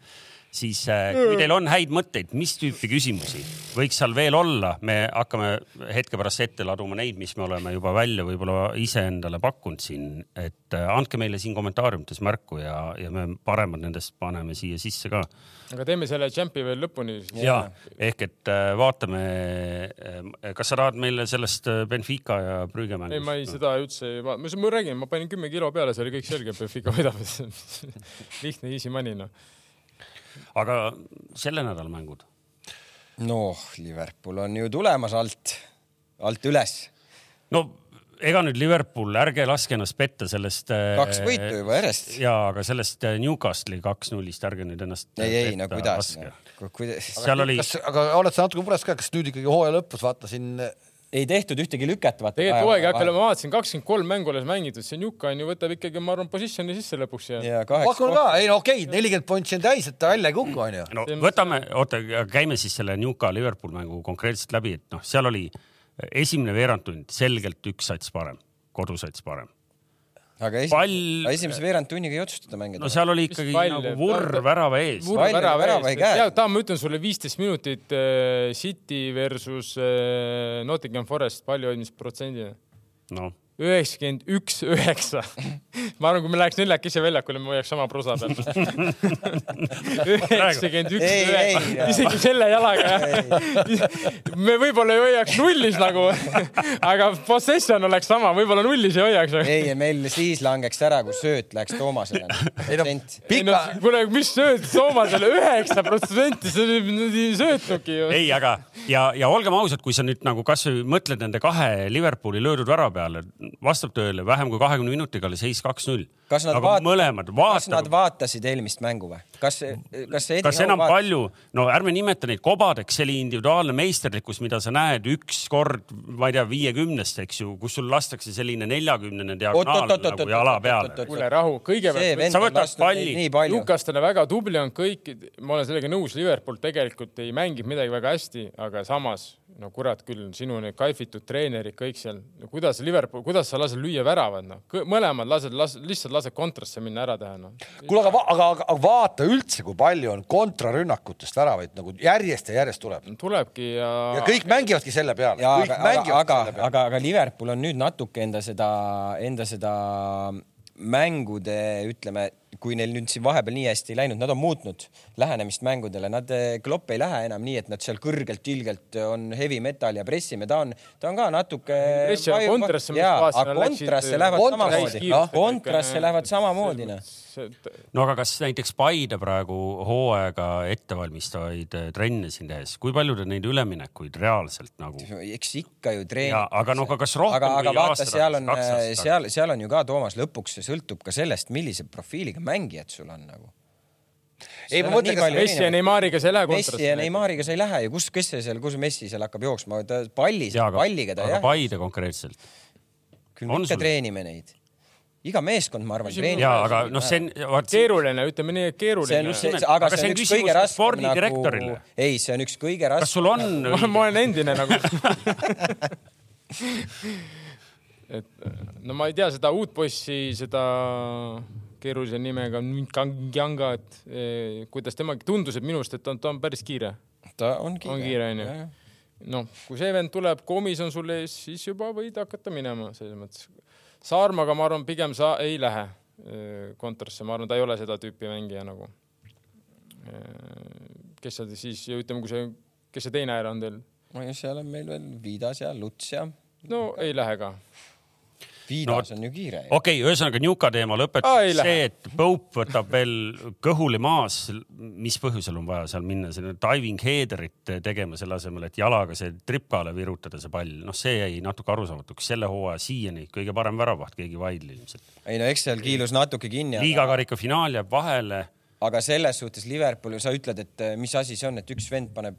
siis äh, kui teil on häid mõtteid , mis tüüpi küsimusi võiks seal veel olla , me hakkame hetke pärast ette laduma neid , mis me oleme juba välja võib-olla iseendale pakkunud siin , et äh, andke meile siin kommentaariumites märku ja , ja me paremad nendest paneme siia sisse ka
aga teeme selle džämpi veel lõpuni siis .
ja ehk et äh, vaatame , kas sa tahad meile sellest äh, Benfica ja Brügge
ei , ma ei ,
mängust ?
seda üldse ei , ma , ma räägin , ma panin kümme kilo peale , see oli kõik selge , Benfica võidab . lihtne easy money noh .
aga selle nädala mängud ?
noh , Liverpool on ju tulemas alt , alt üles .
no ega nüüd Liverpool , ärge laske ennast petta sellest . äh,
Kaks võitu juba järjest.
ja , aga sellest äh, Newcastle'i kaks-nullist , ärge nüüd ennast .
ei , ei no kuidas , kuidas
seal oli ,
kas , aga oled sa natuke mures ka , kas nüüd ikkagi hooaja lõpus vaatasin ,
ei tehtud ühtegi lüket , vaata .
tegelikult hooaeg ei hakka olema , ma vaatasin , kakskümmend kolm mängu alles mängitud , see Njuka on ju , võtab ikkagi , ma arvan , positsiooni sisse lõpuks ja, ja. .
ja kaheksa
pakun ka , ei no okei okay, , nelikümmend pointsi on täis , et ta välja ei kuku , onju .
no võtame , oota , käime siis selle Newca Liverpool mängu konkreetselt läbi , et noh , seal oli esimene veerandtund selgelt üks sats parem , kodusats parem .
aga esi-
Pall-
aga esimese veerand tunniga ei otsustada mängida
no . seal oli ikkagi
pall-
nagu vurr värava ees .
Vurr-
värav
värav
ees
ei . käe.
ja , Tamm , ma ütlen sulle viisteist minutit äh, City versus äh, Nottingham Forest , palju hoidmist protsendina ?
noh ,
üheksakümmend üks , üheksa . ma arvan , kui me läheks neljakesi väljakule , me hoiaks sama prusa peal . üheksakümmend üks ,
Ei,
üheksa ,
ei.
isegi selle jalaga . me võib-olla ei hoiaks nullis nagu , aga possession oleks sama , võib-olla nullis ei hoiaks .
ei , meil siis langeks ära , kui sööt läheks Toomasele .
ei no pika ,
kuule , mis sööd Soomasele üheksa protsenti , see nüüd ei söötnudki ju .
ei , aga ja , ja olgem ausad , kui sa nüüd nagu kasvõi mõtled nende kahe Liverpooli löödud värava peale , vastab tõele , vähem kui kahekümne minutiga oli seis kaks-null .
Kas nad
aga
vaat-
mõlemad
kas nad
vaatavad ,
vaatasid eelmist mängu või ? kas , kas see Eddie
kas
Howe
enam
vaatas-
palju , no ärme nimeta neid kobadeks , see oli individuaalne meisterlikkus , mida sa näed üks kord , ma ei tea , viiekümnest , eks ju , kus sul lastakse selline neljakümnene diagonaal
Oot-oot-oot-oot-oot-oot-oot-oot.
nagu jala peale .
kuule rahu ,
see
kõigepealt .
vend
Sa
on
võtad
lasknud
palli.
neid nii palju .
Lukas täna väga tubli on kõik , ma olen sellega nõus , Liverpool tegelikult ei mängi midagi väga hästi , aga samas no kurat küll , sinu need kaifitud treenerid kõik seal , kuidas Liverpool , kuidas sa lased lüüa väravad noh , mõlemad lased las, , lihtsalt lased kontrasse minna ära teha noh .
kuule , aga , aga , aga vaata üldse , kui palju on kontrarünnakutest väravaid nagu järjest ja järjest tuleb
tulebki ja,
ja kõik mängivadki selle peale ,
ja
kõik
aga , aga ,
mängivadki
aga
selle , peale .
aga , aga Liverpool on nüüd natuke enda seda , enda seda mängude , ütleme , kui neil nüüd siin vahepeal nii hästi ei läinud , nad on muutnud lähenemist mängudele , nad , Klopp ei lähe enam nii , et nad seal kõrgelt ilgelt on heavy metal ja pressime , ta on , ta on ka natuke .
Pressi- kontrasse, mis
jaa ,
faasi
aga
nad läksid,
kontrasse lähevad
kontrasse
samamoodi
täiskiirusega , ikka,
kontrasse
jah.
lähevad samamoodi , noh .
no aga kas näiteks Paide praegu hooaega ettevalmistavaid eh, trenne siin tehes , kui palju te neid üleminekuid reaalselt nagu
eks ikka ju treenib
ja , aga noh , kas rohkem
aga , aga
kui
vaata ,
aasta
seal on ,
kaks aastat tagasi?
seal , seal on ju ka , Toomas , lõpuks see sõltub ka sellest , millise profiiliga mängijad sul on nagu .
ei , ma mõtlen , kas ,
Messi ja Neimariga sa ei lähe
Messi ja
kontrasse .
Neimariga sa ei lähe ju , kus , kes see seal , kus Messi seal hakkab jooksma , ta palli ,
jaa , aga ,
palliga ta
aga
jah ,
Paide konkreetselt .
küll
on
me ikka
sul-
treenime neid . iga meeskond , ma arvan , treenib .
jaa , aga noh , see on , vaat see ,
keeruline , ütleme nii , et
see on
keeruline .
see ,
just-
aga
aga
see on üks
küsimus
kõige
ka
raskem nagu
spordidirektorile. ,
ei , see on üks kõige
kas
raskem .
sul on
ma ma olen endine nagu . et äh, no ma ei tea seda uut bossi , seda keerulise nimega Nkangjanga , et eh, kuidas tema tundus , et minu arust , et ta on , ta on päris kiire ,
ta on
on kiire onju . noh , kui see vend tuleb , komis on sul ees , siis juba võid hakata minema selles mõttes . Saarmaga ma arvan , pigem sa ei lähe eh, kontrasse , ma arvan , ta ei ole seda tüüpi mängija nagu . kes seal siis , ütleme , kui see , kes see teine äär on teil ?
no ja seal on meil veel Vidas ja Luts ja .
no ei lähe ka .
Vidas on ju kiire .
okei okay, , ühesõnaga Newca teema
Aa, ei
lõpetuseks see ,
lähe.
et Pope võtab veel kõhuli maas . mis põhjusel on vaja seal minna , selline diving header'it tegema selle asemel , et jalaga see tripkale virutada see pall , noh , see jäi natuke arusaamatuks . selle hooaja siiani kõige parem väravaht , keegi Vaidl ilmselt .
ei no eks seal kiilus natuke kinni .
liigakarika finaal jääb vahele .
aga selles suhtes Liverpooli , sa ütled , et eh, mis asi see on , et üks vend paneb ,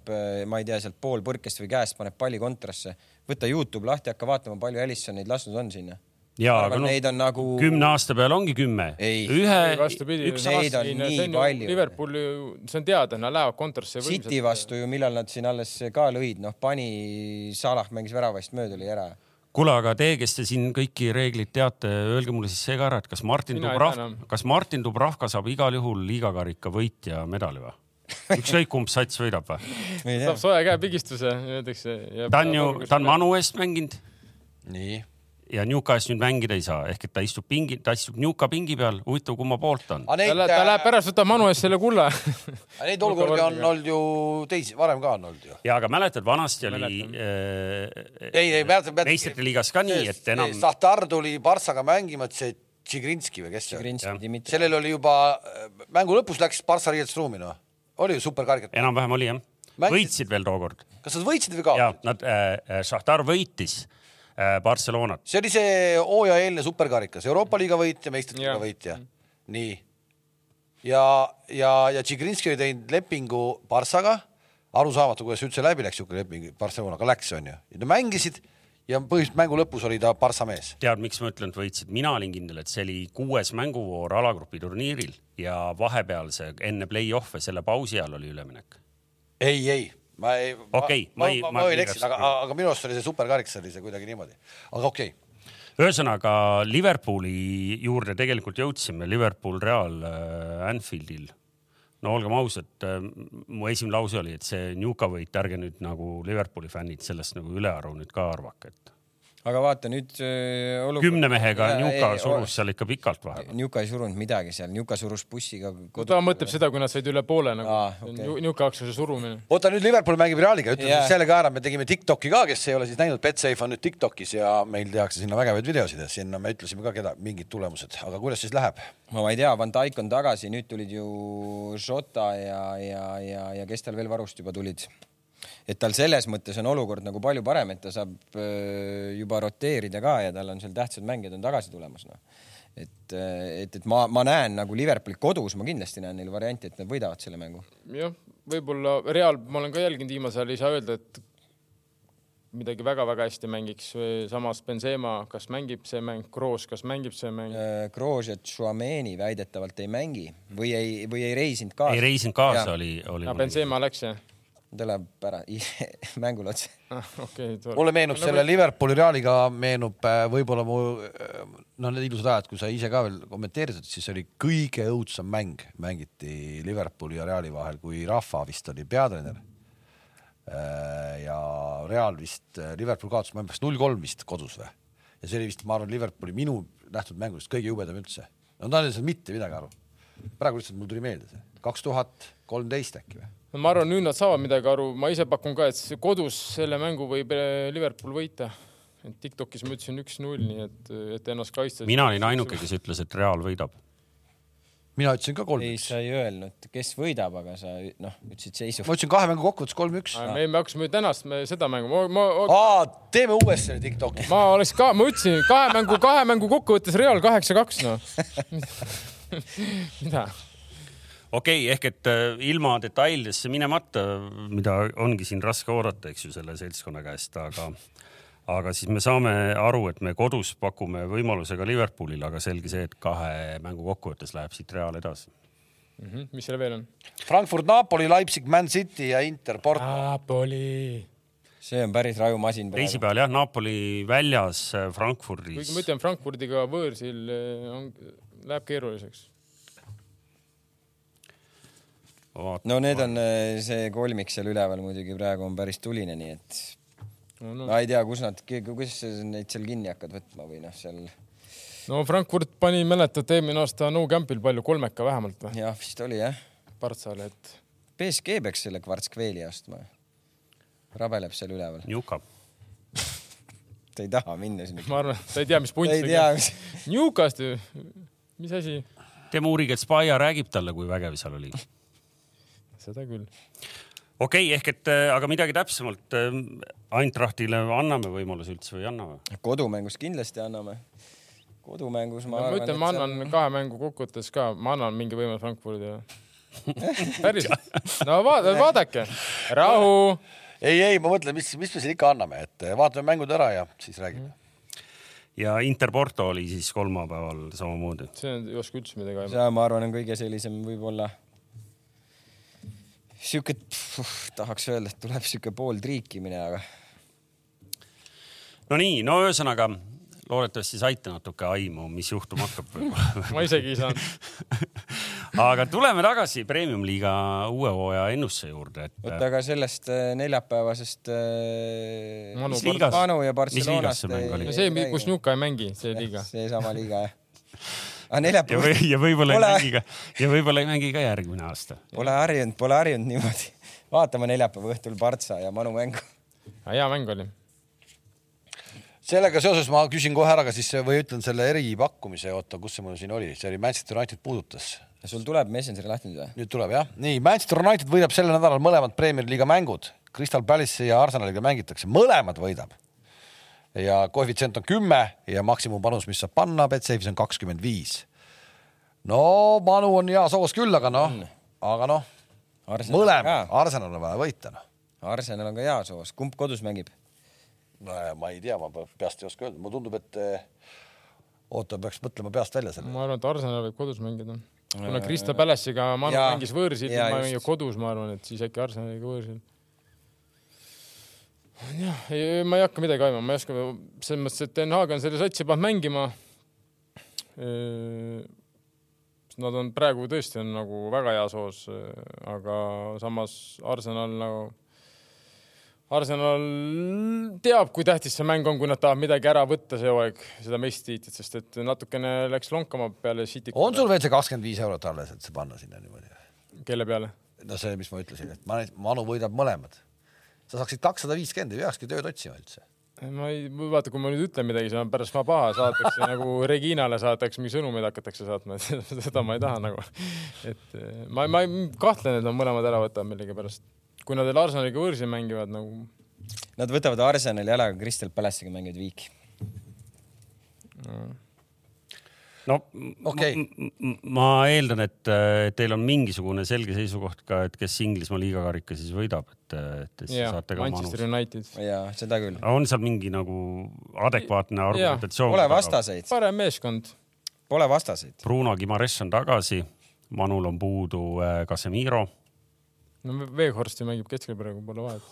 ma ei tea , sealt pool põrkest või käest paneb palli kontrasse . võta Youtube lahti , hakka vaatama , palju Alisson neid lasknud on sinna .
jaa ,
arvan,
aga
neid on
noh ,
nagu-
kümne aasta peale ongi kümme .
Ei.
ühe ,
vastupidi ,
üks
neid on nii palju.
Liverpooli , see on teada , nad lähevad kontorisse
City . vastu ju , millal nad siin alles ka lõid , noh , pani , Salah mängis värava eest mööda , oli ära .
kuule , aga teie , kes te siin kõiki reegleid teate , öelge mulle siis see ka ära , et kas Martin
Mina ei
Dubrav
tea enam. ,
kas Martin Dubravka saab igal juhul liigakarika võitja medali või ? ükskõik kumb sats võidab või ?
saab soe käepigistuse , öeldakse .
ta on ju , ta on . manu eest mänginud
nii ,
ja Newca eest nüüd mängida ei saa , ehk et ta istub pingi , ta istub Newca pingi peal , huvitav , kumma poolt ta on .
aga
ta
neid ,
läheb , ta läheb
aga
pärast , võtab manu eest selle kulla .
neid olukordi äh, on olnud ju teisi , varem ka on olnud ju .
ja aga mäletad , vanasti oli äh,
ei , ei mäletan ,
meistrite liigas ka nii , et enam
Sahtar tuli Partsaga mängima , et see Tšigrinski või kes see oli ,
Grinski Dmitri .
sellel oli juba äh, mängu lõpus läks Partsa riietusruumi noh , oli ju superkarikad ,
enam-vähem oli jah ,
Mängisid-
võitsid veel tookord
kas nad võitsid või
ja
kaotasid ?
nad äh, , Šahtar võitis äh, Barcelonat .
see oli see hooaja eelne superkarikas , Euroopa liiga võitja , meistrite liiga
Jah.
võitja , nii . ja , ja , ja Tšigrinski oli teinud lepingu Partsaga , arusaamatu , kuidas üldse läbi läks niisugune leping , Barcelonaga läks , onju , ja nad mängisid ja põhimõtteliselt mängu lõpus oli ta Partsa mees .
tead , miks ma ütlen , et võitsid , mina olin kindel , et see oli kuues mänguvoor alagrupi turniiril ja vahepealse enne play-off'e selle pausi ajal oli üleminek .
ei , ei , ma ei .
Okei, ma ei-
ma,
ma
ma võin
piirasin.
eksida , aga , aga minu arust oli see superkarikas oli see kuidagi niimoodi , aga okei okay.
ühesõnaga Liverpooli juurde tegelikult jõudsime , Liverpool Real äh, Anfieldil . no olgem ausad , mu esimene lause oli , et see Newca võit , ärge nüüd nagu Liverpooli fännid sellest nagu ülearu nüüd ka arvake , et
aga vaata nüüd öö, olukord .
kümne mehega Newca surus . seal ikka pikalt vahepeal .
Newca ei surunud midagi seal , Newca surus bussiga kodu .
ta mõtleb seda , kui nad said üle poole nagu
Aa,
ah,
okei.
okay. . niuke aktsiuse surumine .
oota nüüd Liverpool mängib Realiga , ütleme
Jaa.
yeah. selle ka ära , me tegime Tiktoki ka , kes ei ole siis näinud , Betsafe on nüüd Tiktokis ja meil tehakse sinna vägevaid videosid ja sinna me ütlesime ka , keda mingid tulemused , aga kuidas siis läheb ?
ma ma ei tea , Van Dijk on tagasi , nüüd tulid ju Šota ja , ja , ja , ja kes tal veel varust juba tulid . et tal selles mõttes on olukord nagu palju parem , et ta saab öö, juba roteerida ka ja tal on seal tähtsad mängijad on tagasi tulemas noh et , et , et ma , ma näen nagu Liverpooli kodus , ma kindlasti näen neil varianti , et nad võidavad selle mängu .
jah , võib-olla Real , ma olen ka jälginud viimasel ajal , ei saa öelda , et midagi väga-väga hästi mängiks . samas Benzema , kas mängib see mäng , Kroos , kas mängib see mäng ?
Äh, Kroos ja Tšuameni väidetavalt ei mängi või ei , või ei reisinud kaasa .
ei reisinud kaasa , oli , oli
aa ,. Ah, Benzema läks jah ?
ta läheb ära mängule otse .
okei , tore .
mulle meenub selle Liverpooli Realiga meenub äh, võib-olla mu äh, noh , need ilusad ajad , kui sa ise ka veel kommenteerisid , siis oli kõige õudsem mäng mängiti Liverpooli ja Reali vahel , kui Rahva vist oli peatreener . ja Real vist , Liverpool kaotas , ma ei mäleta , null kolm vist kodus või ? ja see oli vist , ma arvan , Liverpooli minu nähtud mängudest kõige jubedam üldse . no ta ei saanud mitte midagi aru . praegu lihtsalt mul tuli meelde see , kaks tuhat kolmteist äkki või ?
ma arvan , nüüd nad saavad midagi aru , ma ise pakun ka , et see kodus selle mängu võib eh, Liverpool võita . et Tiktokis ma ütlesin üks-null , nii et , et ennast kaitsta .
mina olin ainuke , kes ütles , et Real võidab .
mina ütlesin ka kolm
ei ,
üks ,
sa ei öelnud , kes võidab , aga sa ü- noh , ütlesid seisu .
ma ütlesin kahe mängu kokkuvõttes kolm üks
Ah, me , me hakkasime tänast me, seda mängu , ma, ma ,
aa , teeme uuesti selle Tiktoki .
ma oleks ka , ma ütlesin kahe mängu , kahe mängu kokkuvõttes Real kaheksa-kaks , noh . mida ?
okei okay, , ehk et äh, ilma detailidesse minemata , mida ongi siin raske oodata , eks ju , selle seltskonna käest , aga , aga siis me saame aru , et me kodus pakume võimaluse ka Liverpoolile , aga selge see , et kahe mängu kokkuvõttes läheb siit Real edasi .
Mhm, mis seal veel on ?
Frankfurt , Napoli , Leipzig , Man City ja Inter , Porto .
Napoli .
see on päris raju masin praegu .
teisipäeval jah , Napoli väljas äh, Frankfurdis
kuigi ma . ütlen , Frankfurdiga võõrsil eh, on , läheb keeruliseks .
no need on äh, see kolmik seal üleval muidugi praegu on päris tuline , nii et
no, no.
ma ei tea , kus nad , kuidas sa neid seal kinni hakkad võtma või noh , seal
no Frankfurt pani , mäletate , eelmine aasta No Campil palju , kolmeka vähemalt või ?
jah , vist oli jah .
Partsale , et
BSG peaks selle kvartskveeli ostma . rabeleb seal üleval ,
Newcastle .
ta ei taha minna sinna .
ma arvan , ta ei tea , mis punt
ta ei tea ,
Newcast , mis asi ?
teeme uuriga , et Spaja räägib talle , kui vägev seal oli
seda küll .
okei okay, , ehk et äh, aga midagi täpsemalt äh, Eintrachtile anname võimaluse üldse või ei anna või ?
kodumängus kindlasti anname . kodumängus ma
ma
arvan .
ütlen , ma annan kahe mängu kokkuvõttes ka , ma annan mingi võimaluse Frankfurdile . päriselt ? no vaada , vaadake , rahu .
ei , ei , ma mõtlen , mis , mis me siin ikka anname , et eh, vaatame mängud ära ja siis räägime .
ja Inter Porto oli siis kolmapäeval samamoodi .
see on , ei oska üldse midagi aimata .
see , ma arvan , on kõige sellisem võib-olla sihuke , tahaks öelda , et tuleb sihuke pool triikimine , aga
Nonii , no ühesõnaga loodetavasti saite natuke aimu , mis juhtuma hakkab .
ma isegi ei saanud .
aga tuleme tagasi Premium-liiga uue hooaja ennusse juurde , et
oota , aga sellest äh, neljapäevasest äh,
Manu
mis
Par-
liigas? Manu ja
Mis liigas
Barcelonast
see mäng oli?
no see , kus Nuka ei mängi , see liiga .
seesama liiga jah . aga
ja,
neljapäev
või, , ja võib-olla ei
Pole-
mängi ka , ja võib-olla ei mängi ka järgmine aasta .
pole harjunud , pole harjunud niimoodi . vaatame neljapäeva õhtul Partsa ja Manu mängu .
Ah, hea mäng oli .
sellega seoses ma küsin kohe ära ka siis või ütlen selle eripakkumise , oota , kus see mul siin oli , see oli Manchester United puudutas .
sul tuleb Messengeri lahti nüüd või ?
nüüd tuleb jah , nii Manchester United võidab sellel nädalal mõlemad Premier Liiga mängud , Crystal Palace'i ja Arsenaliga mängitakse , mõlemad võidab . ja koefitsient on kümme ja maksimumpanus , mis saab panna Betsafe'is on kakskümmend viis . no Manu on hea soos küll , aga noh , aga noh ,
Arsenal
mõlemad ,
ka.
Arsenal on vaja võita noh .
Arsenal on ka hea soos , kumb kodus mängib ?
no ja ma ei tea , ma peast ei oska öelda , mulle tundub , et eh, oota , peaks mõtlema peast välja selle .
ma arvan , et Arsenal võib kodus mängida . kuna Krista Palace'iga Manu
Äh, Jaa.
mängis võõrsil ,
Jaa,
ma
just.
mängin kodus , ma arvan , et siis äkki Arsenaliga võõrsil . jah , ei , ma ei hakka midagi aimama , ma ei oska , selles mõttes , et Den Haag on selle satsi pannud mängima . Äh, Nad on praegu tõesti on nagu väga hea soos , aga samas Arsenal nagu , Arsenal teab , kui tähtis see mäng on , kui nad tahavad midagi ära võtta see hooaeg , seda meistritiitlit , sest et natukene läks lonkama peale City .
on sul veel see kakskümmend viis eurot alles , et see panna sinna niimoodi ?
kelle peale ?
no see , mis ma ütlesin , et ma , Manu võidab mõlemad . sa saaksid kakssada viiskümmend , ei peakski tööd otsima üldse .
ma ei , vaata , kui ma nüüd ütlen midagi , siis on pärast ma paha , saadetakse nagu Reginale saadetakse , mingi sõnumeid hakatakse saatma , et seda ma ei taha nagu . et eh, ma , ma ei- kahtlen , et nad mõlemad ära võtavad millegipärast . kui nad veel Arsenaliga võõrsil mängivad nagu ,
Nad võtavad Arsenali ära , aga Crystal Palace'iga mängivad viiki .
no
Okei.
ma, ma eeldan , et äh, teil on mingisugune selge seisukoht ka , et kes Inglismaa liiga karika siis võidab , et , et siis
jah ,
saate ka
Manchester
manus .
United .
ja seda küll .
on seal mingi nagu adekvaatne argumentatsioon ?
Pole . vastaseid ,
parem meeskond .
pole vastaseid .
Bruno Gimares on tagasi , Manul on puudu äh, Casemiro
no Veehorst ju mängib keskel praegu , pole vahet .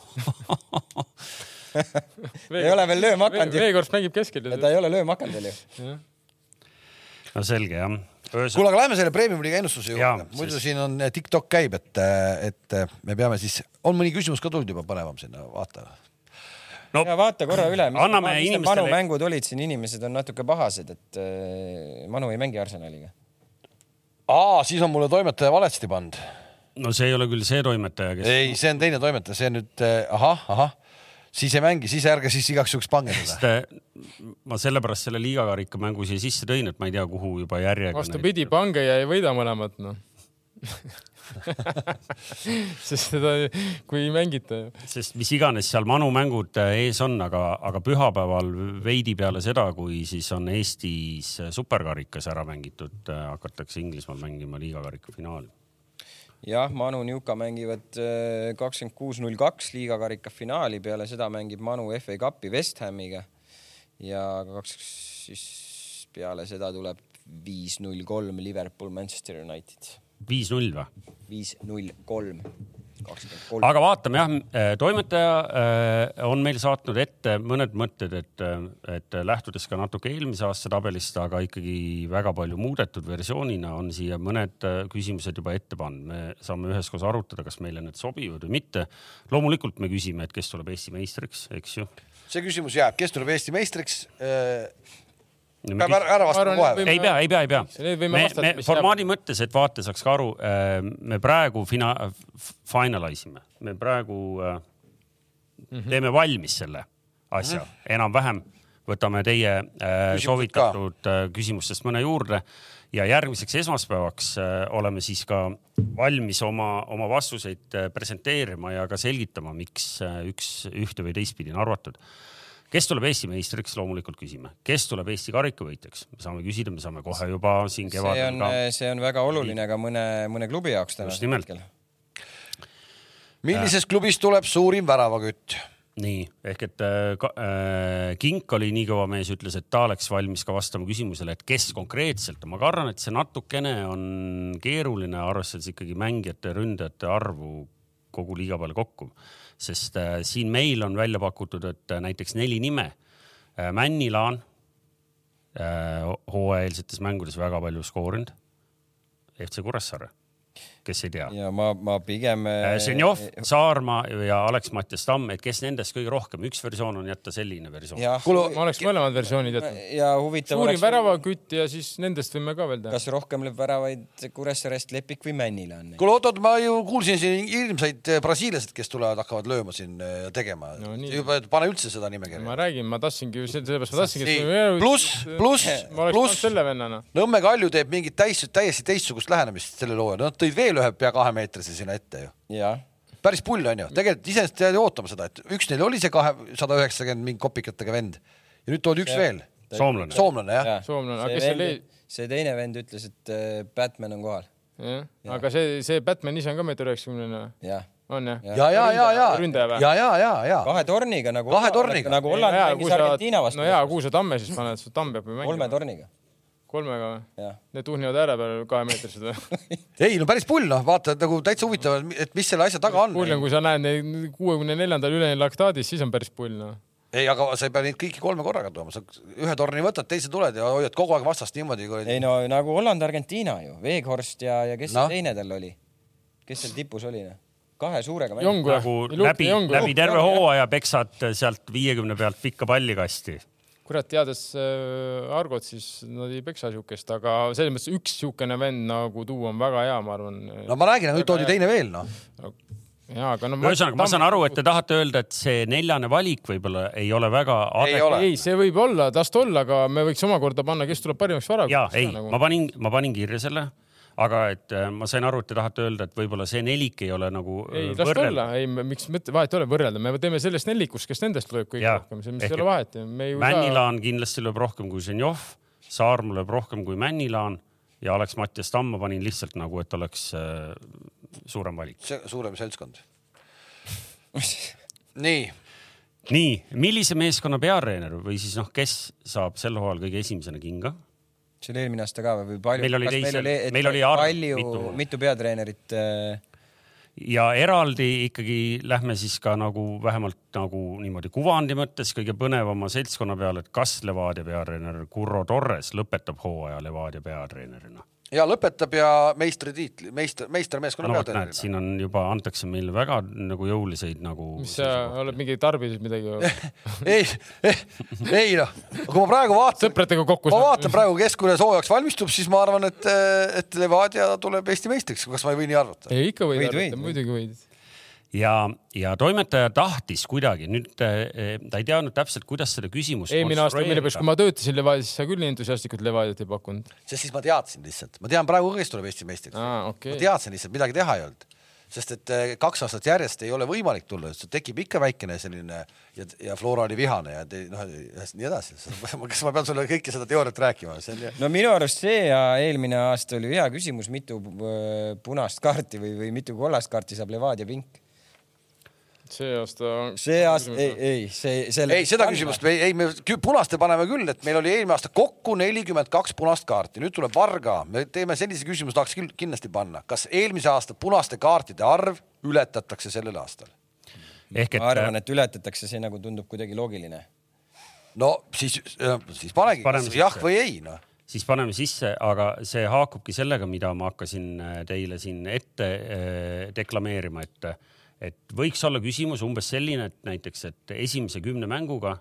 ei ole veel lööma hakanud ju .
Veehorst mängib keskel
ta . ei ole lööma hakanud veel ju .
no selge jah .
kuule , aga lähme selle premium liiga ennustuse
Jaa,
juurde , muidu siis...
siis-
siin on eh, TikTok käib , et , et eh, me peame siis , on mõni küsimus ka tulnud juba põnevam sinna , vaata .
No,
ja vaata korra üle , mis
anname
mis need
inimestele-
Manu mängud olid siin , inimesed on natuke pahased , et äh, Manu ei mängi Arsenaliga .
aa , siis on mulle toimetaja valesti pannud .
no see ei ole küll see toimetaja , kes
ei , see on teine toimetaja , see nüüd eh, ahah , ahah , siis ei mängi , siis ärge siis igaks juhuks pange seda .
sest äh, ma sellepärast selle liigakarika mängu siia sisse tõin , et ma ei tea , kuhu juba järjega .
vastupidi , pange ja ei võida mõlemat , noh . sest seda , kui ei mängita .
sest mis iganes seal manu mängud äh, ees on , aga , aga pühapäeval veidi peale seda , kui siis on Eestis äh, superkarikas ära mängitud , hakatakse Inglismaal mängima liigakarika finaali .
jah , Manu , Njuka mängivad äh, kakskümmend kuus , null kaks liigakarika finaali , peale seda mängib Manu FA Cupi West Hamiga ja kaks , siis peale seda tuleb viis , null , kolm Liverpool , Manchester United .
viis-null või ?
viis , null , kolm , kakskümmend kolm .
aga vaatame jah , toimetaja äh, on meil saatnud ette mõned mõtted , et , et lähtudes ka natuke eelmise aasta tabelist , aga ikkagi väga palju muudetud versioonina on siia mõned äh, küsimused juba ette pannud . me saame üheskoos arutada , kas meile need sobivad või mitte . loomulikult me küsime , et kes tuleb Eesti meistriks , eks ju .
see küsimus jääb , kes tuleb Eesti meistriks ? peab
ei
ära, ära vastama
Ma arvan, et
kohe
võime- .
pea , ei pea , ei pea .
Need võime
me ,
vastata,
me
mis
formaadi mõttes , et vaataja saaks ka aru , me praegu fina- , finalize ime , me praegu äh, teeme valmis selle asja enam-vähem . võtame teie äh,
Küsimused
soovitatud äh, küsimustest mõne juurde ja järgmiseks esmaspäevaks äh, oleme siis ka valmis oma , oma vastuseid äh, presenteerima ja ka selgitama , miks äh, üks , ühte või teistpidi on arvatud kes tuleb Eesti meistriks , loomulikult küsime , kes tuleb Eesti karikavõitjaks , me saame küsida , me saame kohe juba siin
see
kevadel
on äh,
ka ,.
see on väga oluline ka mõne , mõne klubi jaoks täna .
Just nimelt.
millises klubis tuleb suurim väravakütt ?
nii ehk et äh, ka- äh, Kink oli nii kõva mees , ütles , et ta oleks valmis ka vastama küsimusele , et kes konkreetselt , ma kardan , et see natukene on keeruline , arvestades ikkagi mängijate , ründajate arvu kogu liiga peale kokku , sest äh, siin meil on välja pakutud , et äh, näiteks neli nime Männilaan hooajaeelsetes mängudes väga palju skoorinud. FC Kuressaare, kes ei tea.
ja ma , ma pigem .
Äh,
äh,
Ženjov , Äh, Saarma ja Aleks-Mattias Tamm , et kes nendest kõige rohkem , üks versioon on jätta selline versioon .
kuule
ma oleks mõlemad versioonid jätnud .
ja huvitav
suurim
oleks ,
väravakütt ja siis nendest võime ka veel teha .
kas rohkem lööb väravaid Kuressaarest Lepik või Männile on .
kuule oot-oot , ma ju kuulsin siin hirmsaid eh, brasiillased , kes tulevad , hakkavad lööma siin eh, tegema
No
no, .
nii.
juba , et pane üldse seda nimekirja .
ma räägin , ma tahtsingi ju , sellepärast ma tahtsingi .
pluss , pluss ,
ma oleks pannud
pluss
selle vennana .
Nõmme Kalju teeb mingit täis , täiesti teistsugust lähenemist sellele hooajale , nad tõid veel ühe pea kahemeetrise sinna ette ju .
jah ,
päris pull on ju , tegelikult iseenesest jäid ootama seda , et üks neil oli see kahe , sada üheksakümmend mingi kopikatega vend ja nüüd toodi üks
Jah.
veel ,
soomlane .
soomlane jah ja. .
jah .
soomlane, aga kes see oli-
see teine vend ütles , et äh, Batman on kohal ,
jah , aga see , see Batman ise on ka meeter üheksakümnene ,
jah .
on jah ?
ja , ja , ja , ja ,
Ründaja või?
ja , ja , ja , ja ,
kahe torniga nagu .
Kahe torniga.
nagu Holland mängis Argentiina vastu .
no jaa , kuhu sa tamme siis paned , su tamm peab ju
kolme
mängima .
torniga ,
kolmega või ?
jah .
Need tuhnivad ääre peal kahemeetrised või ?
ei no päris pull noh , vaata et nagu täitsa huvitav , et mis selle asja taga
pull on ,
on .
kui sa näed neid kuuekümne neljandal ülenenud laktaadis , siis on päris pull noh .
ei , aga sa ei pea neid kõiki kolme korraga tooma , sa ühe torni võtad , teise tuled ja hoiad kogu aeg vastast niimoodi
ei
kuradi .
no nagu Holland , Argentiina ju , Weghorst ja , ja kes
Noh.
see teine tal oli , kes seal tipus oli , noh , kahe suurega mängis .
Jongu jah
nagu . läbi , läbi terve . hooaja peksad sealt viiekümne pealt pikka palli kasti .
kurat , teades äh, Argot , siis nad ei peksa siukest , aga selles mõttes üks siukene vend nagu tuua on väga hea , ma arvan .
no ma räägin , nüüd toodi teine veel noh .
jaa , aga no .
ühesõnaga , ma saan aru , et te tahate öelda , et see neljane valik võib-olla ei ole väga
Ei ole.
ei , see võib olla , las ta olla , aga me võiks omakorda panna , kes tuleb parimaks varakult .
ja ei ,
nagu-
ma panin , ma panin kirja selle , aga et äh, ma sain aru , et te tahate öelda , et võib-olla see nelik ei ole nagu
ei , las ta olla
võrreldav .,
ei , miks mõte , vahet ei ole võrrelda , me teeme sellest nelikust , kes nendest lööb kõige
Jaa.
rohkem , see , mis
Ehk
ei ole
et
vahet ju , me ju
Männilaan kindlasti lööb rohkem kui Ženjov , Saarm lööb rohkem kui Männilaan ja Aleks-Mattias Tamm ma panin lihtsalt nagu , et oleks äh, suurem valik .
see suurem seltskond . nii ,
nii , millise meeskonna peatreener või siis noh , kes saab sel hooajal kõige esimesena kinga ?
see oli eelmine aasta ka või või palju ?
Meil oli teisel- meil oli arv
palju
mitu- ,
mitu peatreenerit äh,
ja eraldi ikkagi lähme siis ka nagu vähemalt nagu niimoodi kuvandi mõttes kõige põnevama seltskonna peale , et kas Levadia peatreener Curro Torres lõpetab hooaja Levadia peatreenerina ?
ja lõpetab ja meistritiitli , meister , meistermeeskonna
no vot näed ,
peatreenerina .
siin on juba antakse meile väga nagu jõuliseid nagu .
mis äh, sa oled mingi tarbinud midagi või ?
ei , ei noh , kui ma praegu vaatan ,
sõpradega kokku
ma vaatan praegu , kes kui soojaks valmistub , siis ma arvan , et , et Levadia tuleb Eesti meistriks , kas ma ei või nii arvata ?
ei , ikka võid
Võid,
arvata ,
võid.
muidugi võid .
ja , ja toimetaja tahtis kuidagi nüüd , ta ei teadnud täpselt , kuidas seda küsimust .
eelmine aasta , mille pärast , kui ma töötasin Levadias , siis sa küll nii entusiastlikult Levadiat ei pakkunud .
sest siis ma teadsin lihtsalt , ma tean praegu ka , kes tuleb Eesti meistriks .
aa ,
ma
okei .
teadsin lihtsalt , midagi teha ei olnud . sest et eh, kaks aastat järjest ei ole võimalik tulla , sest tekib ikka väikene selline ja , ja Flora oli vihane ja te- noh , nii edasi . kas ma pean sulle kõike seda teooriat rääkima , see on ju
no minu arust see ja eelmine aasta oli hea küsimus , mitu äh, punast kaarti või , või mitu kollast kaarti saab Levadia pink .
see aasta .
see aasta , ei , ei , see , selle .
ei , seda . küsimust me ei , ei me kü- punaste paneme küll , et meil oli eelmine aasta kokku nelikümmend kaks punast kaarti , nüüd tuleb Varga , me teeme sellise küsimuse , tahaks küll kindlasti panna , kas eelmise aasta punaste kaartide arv ületatakse sellel aastal ?
ehk et
ma
äh,
arvan , et ületatakse , see nagu tundub kuidagi loogiline .
no siis , siis panegi
Paneme
kas
sisse.
jah või ei , noh .
siis paneme sisse , aga see haakubki sellega , mida ma hakkasin äh, teile siin ette äh, deklameerima , et , et võiks olla küsimus umbes selline , et näiteks , et esimese kümne mänguga ,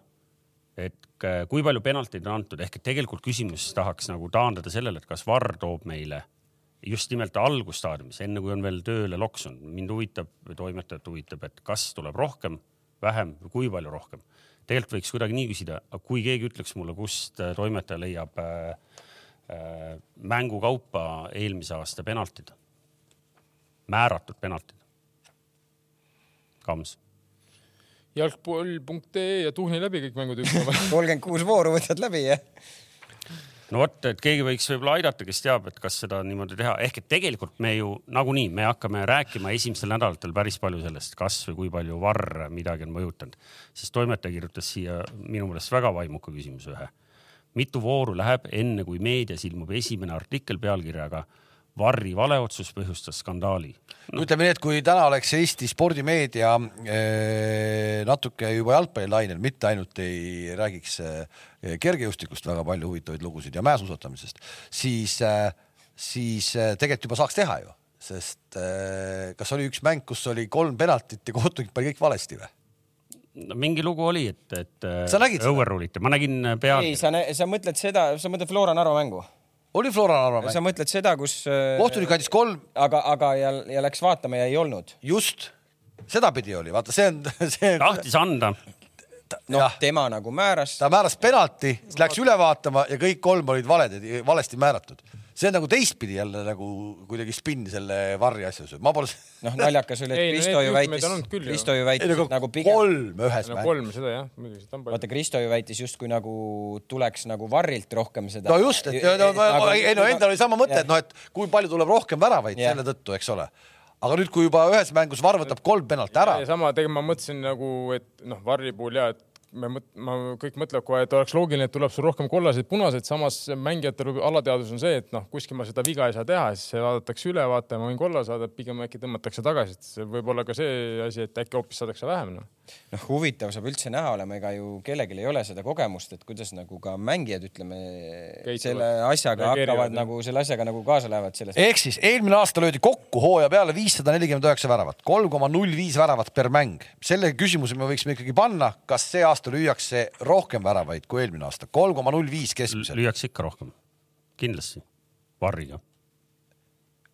et k- kui palju penaltid on antud , ehk et tegelikult küsimus tahaks nagu taandada sellele , et kas Varr toob meile just nimelt algusstaadiumis , enne kui on veel tööle loksunud , mind huvitab , toimetajat huvitab , et kas tuleb rohkem , vähem , kui palju rohkem . tegelikult võiks kuidagi nii küsida , kui keegi ütleks mulle , kust äh, toimetaja leiab äh, äh, mängu kaupa eelmise aasta penaltid , määratud penaltid . Kams ,
jalgpall.ee ja tuhni läbi kõik mängud hüppavad .
kolmkümmend kuus vooru võtad läbi ja
no vot , et keegi võiks võib-olla aidata , kes teab , et kas seda niimoodi teha , ehk et tegelikult me ju nagunii , me hakkame rääkima esimestel nädalatel päris palju sellest , kas või kui palju varr midagi on mõjutanud . sest toimetaja kirjutas siia minu meelest väga vaimuka küsimuse ühe . mitu vooru läheb , enne kui meedias ilmub esimene artikkel pealkirjaga Varri valeotsus põhjustas skandaali
no ütleme nii , et kui täna oleks Eesti spordimeedia eh, natuke juba jalgpallilainel , mitte ainult ei räägiks eh, kergejõustikust väga palju huvitavaid lugusid ja mäesuusatamisest , siis , siis eh, tegelikult juba saaks teha ju , sest eh, kas oli üks mäng , kus oli kolm penaltit ja kohtunik pani kõik valesti või ?
no, . mingi lugu oli , et , et .
Sa nägid seda?
overruliti , ma nägin äh, peal
ei , sa , sa mõtled seda , sa mõtled Flora Narva mängu ,
oli Flora Narva mäng
sa , mõtled seda , kus äh,
kohtunik andis kolm ,
aga , aga ja , ja läks vaatama ja ei olnud .
just sedapidi oli , vaata , see on , see on ,
tahtis anda ,
noh
jah ,
tema nagu määras ,
ta määras penalti , siis läks üle vaatama ja kõik kolm olid valed , valesti määratud . see on nagu teistpidi jälle nagu kuidagi spinn selle varri asjas , ma pole ,
noh , naljakas oli ,
Ei,
et Kristo
no
ju
need juhtumid
väitis
on olnud , küll ju.
Kristo ju väitis , et nagu pigem , nagu
kolm ühes
no
mängus .
kolm seda jah , muidugi seda on palju .
vaata , Kristo ju väitis justkui nagu tuleks nagu varrilt rohkem seda .
no just , et no, no, ei no endal oli sama mõte , et noh , et kui palju tuleb rohkem väravaid
Jah.
selle tõttu , eks ole . aga nüüd , kui juba ühes mängus Varr võtab kolm penalti ära
ja , sama tegelikult ma mõtlesin nagu , et noh , Varri puhul ja , et me mõt- , ma kõik mõtlevad kohe , et oleks loogiline , et tuleb sul rohkem kollaseid , punaseid , samas mängijatel võib- alateadvus on see , et noh , kuskil ma seda viga ei saa teha , siis see vaadatakse üle , vaata , ma võin kolla saada , pigem äkki tõmmatakse tagasi , et see võib olla ka see asi , et äkki hoopis saadakse vähem noh .
noh , huvitav saab üldse näha olema , ega ju kellelgi ei ole seda kogemust , et kuidas nagu ka mängijad , ütleme ,
Käituvad.
selle asjaga
Reageerivad,
hakkavad
jah.
nagu selle asjaga nagu kaasa lähevad selles .
ehk siis eelmine aasta löödi kokku hooaja peale viissada nelikümmend üheksa väravat , kolm koma null viis väravat per mäng . selle küsimuse me võiksime ikkagi panna , kas see aasta lüüakse rohkem väravaid kui eelmine aasta , kolm koma null viis keskmiselt .
lüüakse ikka rohkem . kindlasti , varriga .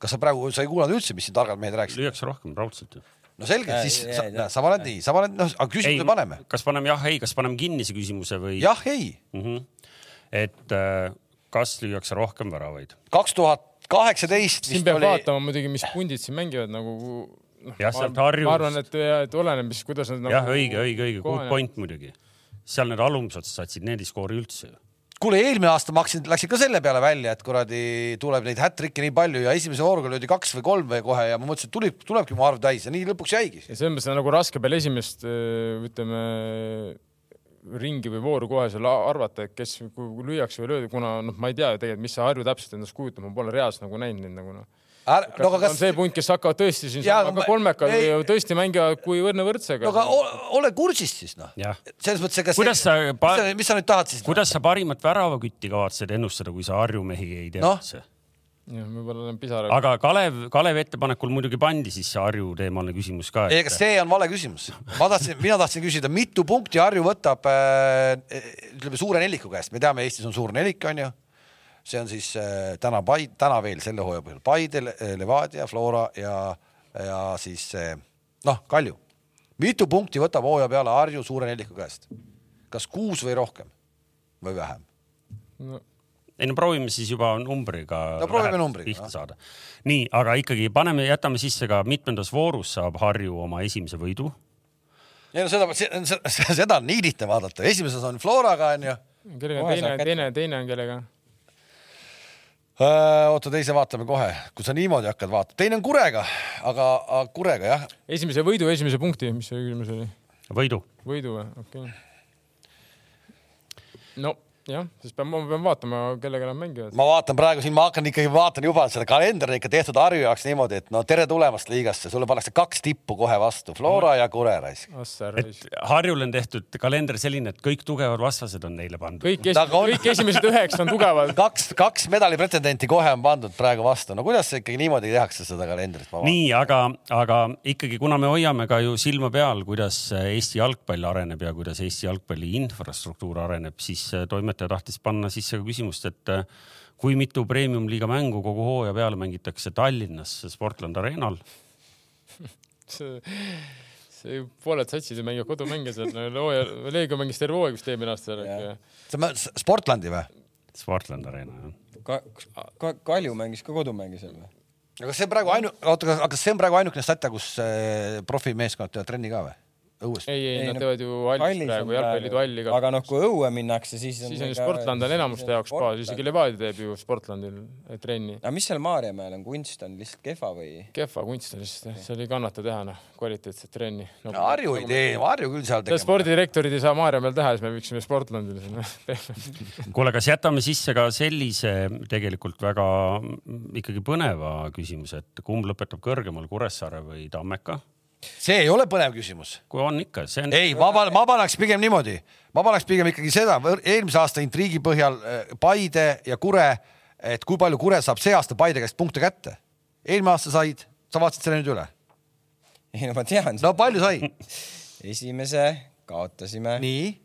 kas sa praegu , sa ei kuulanud üldse , mis siin targad mehed rääkisid ?
lüüakse rohkem raudselt ju .
no selge , siis
Ei,
sa,
ei, ei.
sa paned nii , sa paned , noh , aga küsimuse paneme .
kas paneme jah , ei , kas paneme kinnise küsimuse või ?
jah , ei ,
mm . -hmm. et äh, kas lüüakse rohkem väravaid ?
kaks tuhat kaheksateist
siin
vist
peab
oli
oli... , vaatama muidugi , mis pundid siin mängivad nagu noh,
Jah,
ma-
sealt Harjust.
ma arvan , et , et oleneb , mis , kuidas nad nagu
jah , õige , õige , õige , good
kohanevad.
point muidugi . seal need alumised satsid , need ei skoori üldse ju .
kuule , eelmine aasta ma hakkasin , läksin ka selle peale välja , et kuradi tuleb neid hätrikke nii palju ja esimese vooruga löödi kaks või kolm või kohe ja ma mõtlesin , et tuli , tulebki mu arv täis ja nii lõpuks jäigi .
ja selles mõttes on nagu raske peale esimest öö, ütleme ringi või vooru kohe seal a- arvata , et kes kui- kui lüüakse või löödi , kuna noh , ma ei tea ju tegelikult , mis see Harju täpselt endast kujutab , ma pole reaalselt nagu näinud neid nagu noh .
no aga
on
kas ,
see punt , kes hakkavad tõesti siin
Jaa,
saama
aga
ka
ma-
kolmekad
ei-
või tõesti mängivad kui õrne võrdsega
no aga o- ole kursis siis noh .
Jah.
selles mõttes , ega
Kuidas sa
mis,
pa-
sa, mis sa nüüd tahad siis ? noh?
kuidas sa parimat väravakütti kavatsed ennustada , kui sa Harju mehi ei tea
Noh.
üldse no. ?
jah , võib-olla olen pisaraga .
aga Kalev , Kalevi ettepanekul muidugi pandi siis see Harju teemaline küsimus ka .
ega see on vale küsimus . ma tahtsin , mina tahtsin küsida , mitu punkti Harju võtab äh, ütleme suure neliku käest , me teame , Eestis on suur nelik , onju . see on siis äh, täna Paid- , täna veel selle hooaja põhjal Paide , Levadia , Flora ja , ja siis äh, noh , Kalju . mitu punkti võtab hooaja peale Harju suure neliku käest ? kas kuus või rohkem või vähem ?
No,
ei no proovime siis juba numbriga .
No proovime numbriga,
pihta
jah.
saada . nii , aga ikkagi paneme , jätame sisse ka mitmendas voorus saab Harju oma esimese võidu .
ei no seda , seda on nii lihtne vaadata , esimeses on Floraga onju
kellega
Kohe
teine
saab , kätte.
teine , teine on kellega ?
Öö, Äh, oota , teise vaatame kohe , kui sa niimoodi hakkad vaatama , teine on Kurega , aga aga Kurega jah ,
esimese võidu , esimese punkti , mis see küsimus oli ?
võidu .
võidu või ? okei okay. . no jah , siis peab , ma pean vaatama , kellega nad mängivad .
ma vaatan praegu siin , ma hakkan ikkagi vaatan juba seda kalendrit ikka tehtud Harju jaoks niimoodi , et no tere tulemast liigasse , sulle pannakse kaks tippu kohe vastu , Flora ja Kure raisk .
Assar
et
raisk .
Harjul on tehtud kalender selline , et kõik tugevad vastased on neile pandud .
kõik
Aga on- Nagu
esimesed , kõik esimesed üheksa on tugevad .
kaks , kaks medalipretendenti kohe on pandud praegu vastu , no kuidas see ikkagi niimoodi tehakse seda kalendrit , ma vaatan .
nii , aga , aga ikkagi , kuna me hoiame ka ju silma peal , kuidas Eesti jalgpall areneb ja kuidas Eesti jalgpalli infrastruktuur areneb , siis äh, toimetaja tahtis panna sisse ka küsimust , et äh, kui mitu premium-liiga mängu kogu hooaja peale mängitakse Tallinnas Sportland Arenal
see see pooled satsid ju mängivad kodumänge seal , looja , Leegion mängis terve hooaeg vist eelmine aasta ära ikka .
sa mõtled Sportlandi või ?
Sportland Arena , jah .
ka, ka, Kalju mängis ka kodumänge seal või ?
aga see praegu ainu- , oota , aga kas see on praegu ainukene säte , kus äh, profimeeskonnad eh, teevad trenni ka või ? õues .
ei , ei ,
Ei,
nad
no
teevad ju hallis praegu , jalgpalliliidu halli ka .
aga noh , kui õue minnakse , siis .
siis on ju Sportland on enamuste jaoks baas , isegi Levadia teeb ju Sportlandil trenni .
aga mis seal Maarjamäel on , kunst on lihtsalt kehva või ?
kehva kunst on lihtsalt , see oli kannata teha noh , kvaliteetset trenni no, .
Harju ei tee , Harju küll seal
seda
tegema .
spordidirektorid ei saa Maarjamäel teha , siis me võiksime Sportlandil sinna teha .
kuule , kas jätame sisse ka sellise tegelikult väga mm, ikkagi põneva küsimuse , et kumb lõpetab kõrgemal , Kuressaare või Tammeka ?
see ei ole põnev küsimus .
kui on ikka , see on .
ei , ma pan- , ma paneks pigem niimoodi , ma paneks pigem ikkagi seda võr- eelmise aasta intriigi põhjal eh, Paide ja Kure , et kui palju Kure saab see aasta Paide käest punkte kätte . eelmine aasta said , sa vaatasid selle nüüd üle .
ei no ma tean no. ,
no palju sai ?
esimese kaotasime Nii.
nii ,